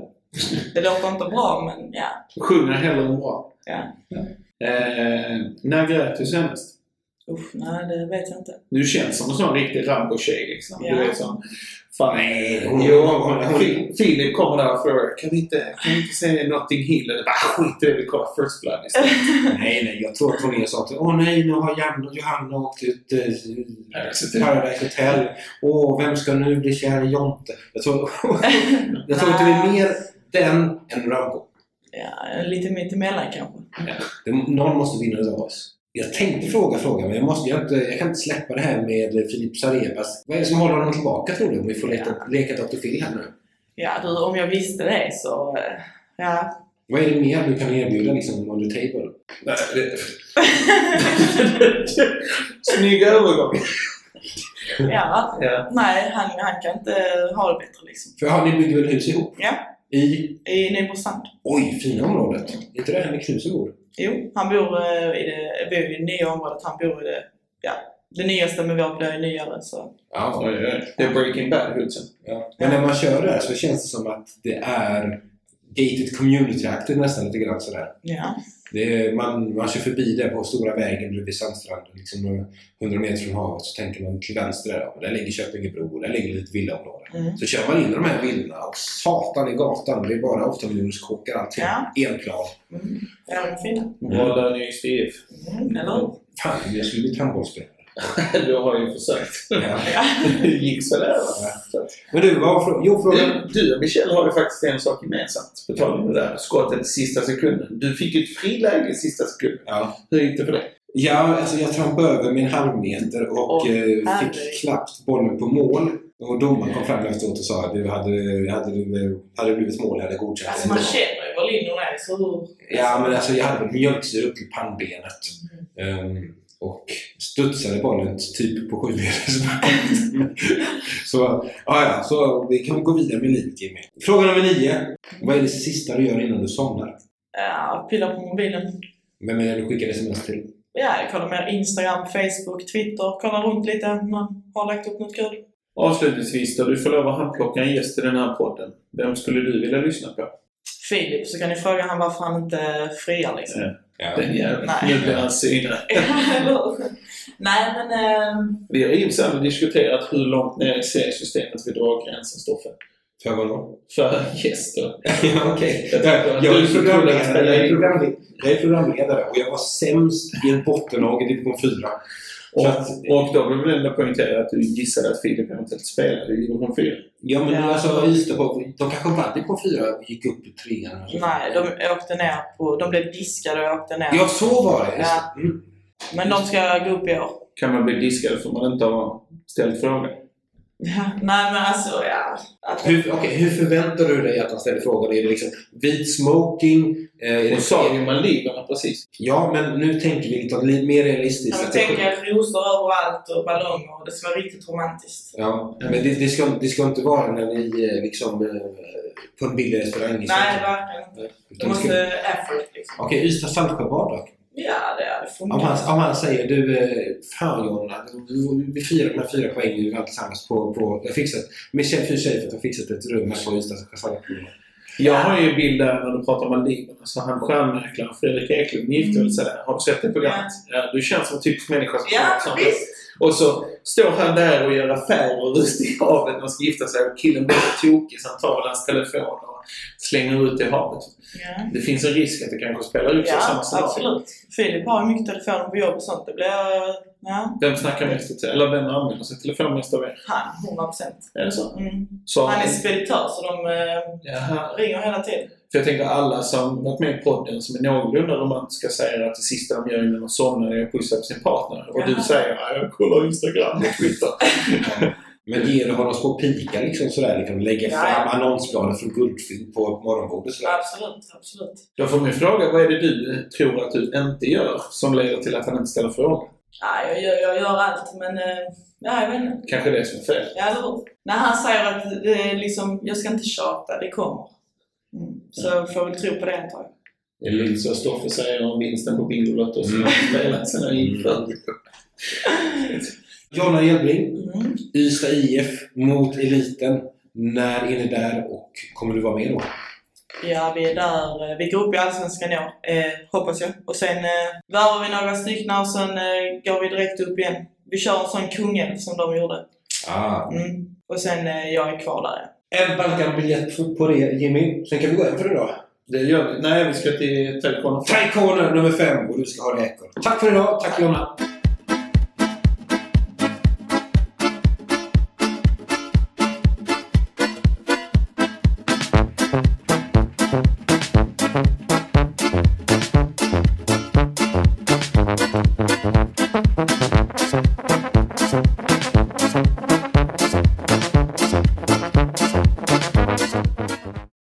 Speaker 4: Det låter inte bra, men ja.
Speaker 2: Sjunger hellre än bra.
Speaker 4: Ja.
Speaker 2: Eh, när grät du senast?
Speaker 4: Usch, nej det vet jag inte. [LAUGHS]
Speaker 2: Du känns som en sån riktig Rambo-tjej liksom.
Speaker 4: Ja.
Speaker 2: Du vet som... Fan,
Speaker 3: Nej,
Speaker 2: hon,
Speaker 3: hon-
Speaker 2: jo,
Speaker 3: hon- hon- hon-
Speaker 2: Fi- Filip kommer där och frågar kan vi inte, kan vi inte se Notting Hill? Eller bara "Ah, skit i det, vi kollar First Blood istället.
Speaker 3: Nej, nej, jag tror att hon är sa att åh nej, nu har Jan och Johanna åkt ut eh, till Paradise Hotel. Åh, vem ska nu bli kär i Jonte? Jag tror, jag tror att du är mer den än Rambo.
Speaker 4: Ja, lite mitt emellan kanske.
Speaker 3: Det, någon måste vinna utav oss. Jag tänkte fråga frågan, men jag, måste, jag, inte, jag kan inte släppa det här med Filip Sarebas. Vad är det som håller honom tillbaka tror du? Om vi får leta, leka Dr. Phil här nu.
Speaker 4: Ja, du, om jag visste det så... eh, Ja.
Speaker 3: Vad är det mer du kan erbjuda liksom on the table?
Speaker 2: Nej, det... [LAUGHS] Snygg övergång!
Speaker 4: ja.
Speaker 2: Ja.
Speaker 4: Nej, han, han kan inte ha det bättre liksom.
Speaker 3: För ja, ni bygger väl hus ihop?
Speaker 4: Ja.
Speaker 3: I,
Speaker 4: i Nybrostrand.
Speaker 3: oj, fina området. Är inte det här med Knuse bor?
Speaker 4: Jo, han bor eh, i det, bor i det nya området. Han bor i det, ja, det nyaste men vårt blir ju nyare. Så.
Speaker 3: Ja.
Speaker 2: Oj, oj, oj. Det är Breaking Bad hoodsen.
Speaker 3: ja. Men när man kör där så känns det som att det är gated community-aktigt nästan lite grann sådär.
Speaker 4: Ja.
Speaker 3: Det är, man, man kör förbi där på stora vägen bredvid Sandstranden, liksom några hundra meter från havet, så tänker man till vänster där, ja, men där ligger Köpingebro och där ligger lite villaområde.
Speaker 4: Mm.
Speaker 3: Så kör man in i de här villorna och satan i gatan, det är bara 8 miljoners kåkar allting. Enplan.
Speaker 4: Mm. Ja, de är fina.
Speaker 2: Bra lön i SPF.
Speaker 4: Mm, eller hur?
Speaker 3: Fan, jag skulle bli handbollsspelare.
Speaker 2: [LAUGHS] Du har ju försökt. [LAUGHS]
Speaker 3: Ja.
Speaker 2: Det gick sådär. va? Så att-
Speaker 3: Men du, vad var frå- Jo, frågan...
Speaker 2: Mm. Du, du och Michelle har ju faktiskt en sak gemensamt. På tal om det där skottet i sista sekunden. Du fick ju ett friläge i sista sekunden.
Speaker 3: Ja.
Speaker 2: Hur gick det för dig?
Speaker 3: Ja, alltså jag trampade över min halvmeter och
Speaker 4: Åh,
Speaker 3: eh,
Speaker 4: herregud.
Speaker 3: fick knappt bollen på mål. Och domaren kom fram efteråt och sa att du hade, hade, du, hade det blivit mål hade jag godkänt
Speaker 4: Alltså man känner ju var linjerna är så hur...
Speaker 3: Ja, men alltså jag hade väl mjölksyra upp till pannbenet.
Speaker 4: Mm.
Speaker 3: Ehm, och studsade bollen typ på
Speaker 4: [LAUGHS]
Speaker 3: sjumetersband. så, ja, ja, så vi kan väl gå vidare med livet Jimmy. Fråga nummer nio. Vad är det sista du gör innan du somnar?
Speaker 4: Ja, pillar på mobilen.
Speaker 3: Vem är det du skickar sms till?
Speaker 4: Ja, jag kollar mer Instagram, Facebook, Twitter. Kollar runt lite om man har lagt upp något kul.
Speaker 2: Avslutningsvis då, du får lov att handplocka en gäst i den här podden. Vem skulle du vilja lyssna på?
Speaker 4: Filip, så kan ni fråga han varför han inte friar liksom.
Speaker 3: Ja.
Speaker 2: Den jäveln.
Speaker 4: Nej.
Speaker 2: Nu blir han synad.
Speaker 4: [LAUGHS] Eller hur? Nej, men... ehm,
Speaker 2: Vi har ju sen diskuterat hur långt ner i seriesystemet vi drar gränsen, Stoffe.
Speaker 3: För vad då?
Speaker 2: För gäster.
Speaker 3: ja, okej.
Speaker 2: Jag
Speaker 3: Jag,
Speaker 2: tycker att
Speaker 3: jag,
Speaker 2: du
Speaker 3: är
Speaker 2: skulle kunna
Speaker 3: programledare,
Speaker 2: spela
Speaker 3: jag, är
Speaker 2: in.
Speaker 3: programledare, jag är programledare och jag var sämst i en bottenlag i division 4.
Speaker 2: Och,
Speaker 3: Så att-
Speaker 2: och då vill vi ändå poängtera att du gissade att Filip eventuellt spelade i division 4.
Speaker 3: Ja, men
Speaker 4: Ja.
Speaker 3: alltså Ystad, de kanske vann division 4 och gick upp i trean. eller så.
Speaker 4: Nej, de åkte ner på... De blev diskade och åkte ner.
Speaker 3: Ja, så var det! Just
Speaker 4: Ja.
Speaker 3: det. Mm.
Speaker 4: Men de ska gå upp i år.
Speaker 2: Kan man bli diskad för man inte har ställt frågan?
Speaker 4: Ja, Nej, men alltså ja. Att,
Speaker 3: Hur, okej, hur förväntar du dig att han ställer frågan? Är det liksom vit smoking? Eh, är
Speaker 2: Och
Speaker 3: det
Speaker 2: Sadio Maliberna precis.
Speaker 3: Ja, men nu tänker vi lite, lite mer
Speaker 4: ja,
Speaker 3: realistiskt.
Speaker 4: men
Speaker 3: Att det-
Speaker 4: tänk er rosor överallt och ballonger. Det ska vara riktigt romantiskt.
Speaker 3: Ja, men det, det, ska, det ska inte vara när ni eh, liksom eh, på en billig restaurang i
Speaker 4: Nej,
Speaker 3: Stockholm.
Speaker 4: verkligen inte. Det
Speaker 3: Utan det ska-
Speaker 4: måste effort liksom.
Speaker 3: Okej, Ystad-Saltsjöbad då?
Speaker 4: Ja, det hade
Speaker 3: Om
Speaker 4: funkat.
Speaker 3: han, om han säger du, eh, fan Jonna, du- vi firar de här fyra poängen vi vann tillsammans på, på jag fixat, Michel Fyrseifert har fixat ett rum här på Ystad Saltsjöbad.
Speaker 2: Jag har ju en bild där när du pratar om Maliberna. Så
Speaker 4: Mm.
Speaker 2: han stjärnmäklaren Fredrik Eklund gifte väl sig där. Har du sett det programmet? Ja, du känns som en typisk människa som
Speaker 4: Ja,
Speaker 2: som-
Speaker 4: visst!
Speaker 2: Och så står han där och gör affärer ute i havet när han ska gifta sig. Och killen blir så tokig så han tar väl hans telefon och slänger ut i havet.
Speaker 4: Ja,
Speaker 2: Det finns en risk att det kanske spelar upp sig i
Speaker 4: ja
Speaker 2: samma scenario.
Speaker 4: absolut. Filip har ju mycket telefoner på jobb och sånt. Det blir... Ja,
Speaker 2: Vem snackar mest i te- Eller vem använder sin telefon mest av er?
Speaker 4: han. 100 procent.
Speaker 2: Är det så?
Speaker 4: Mm.
Speaker 2: så
Speaker 4: Han är speditör så de eh,
Speaker 2: Jaha.
Speaker 4: ringer hela tiden.
Speaker 2: För jag tänker alla som varit med i podden som är någorlunda romantiska säger att det sista de gör innan de somnar är att pussa på sin partner. Och du
Speaker 4: Jaha.
Speaker 2: säger att jag kollar Instagram och [LAUGHS] Twitter.
Speaker 3: Men ger du honom små pikar liksom sådär, liksom, lägger
Speaker 4: Ja,
Speaker 3: fram
Speaker 4: ja.
Speaker 3: annonsbladet från Guldfilm på morgonbordet sådär.
Speaker 4: Absolut, absolut.
Speaker 2: Då får min fråga, vad är det du tror att du inte gör som leder till att han inte ställer frågan?
Speaker 4: Ja, jag, gör, jag gör allt men... eh, Ja, jag vet inte.
Speaker 2: Kanske det som är fel.
Speaker 4: Ja, eller hur? När han säger att det är liksom, jag ska inte tjata, det kommer. Mm. Så jag får väl tro på det ett tag.
Speaker 2: Det är lite så Stoffe säger om vinsten på Bingolotto som han spelat sen han gick för.
Speaker 3: Jonna Hjelbring,
Speaker 4: Mm.
Speaker 3: Ystad IF mot Eliten. När är ni där och kommer du vara med då?
Speaker 4: Ja, vi är där. eh, Vi går upp i Allsvenskan i år, eh, hoppas jag. Och sen eh, värvar vi några stycken och sen eh, går vi direkt upp igen. Vi kör en sån kungel som de gjorde.
Speaker 3: Ah.
Speaker 4: Mm. Och sen eh, jag är kvar där.
Speaker 3: En Balkan-biljett på- på det Jimmy. Sen kan vi gå hem för idag.
Speaker 2: Det gör vi. Nej, vi ska till Telkon.
Speaker 3: Taikoner nummer fem och du ska ha det ekorre. Tack för idag. Tack Jonna.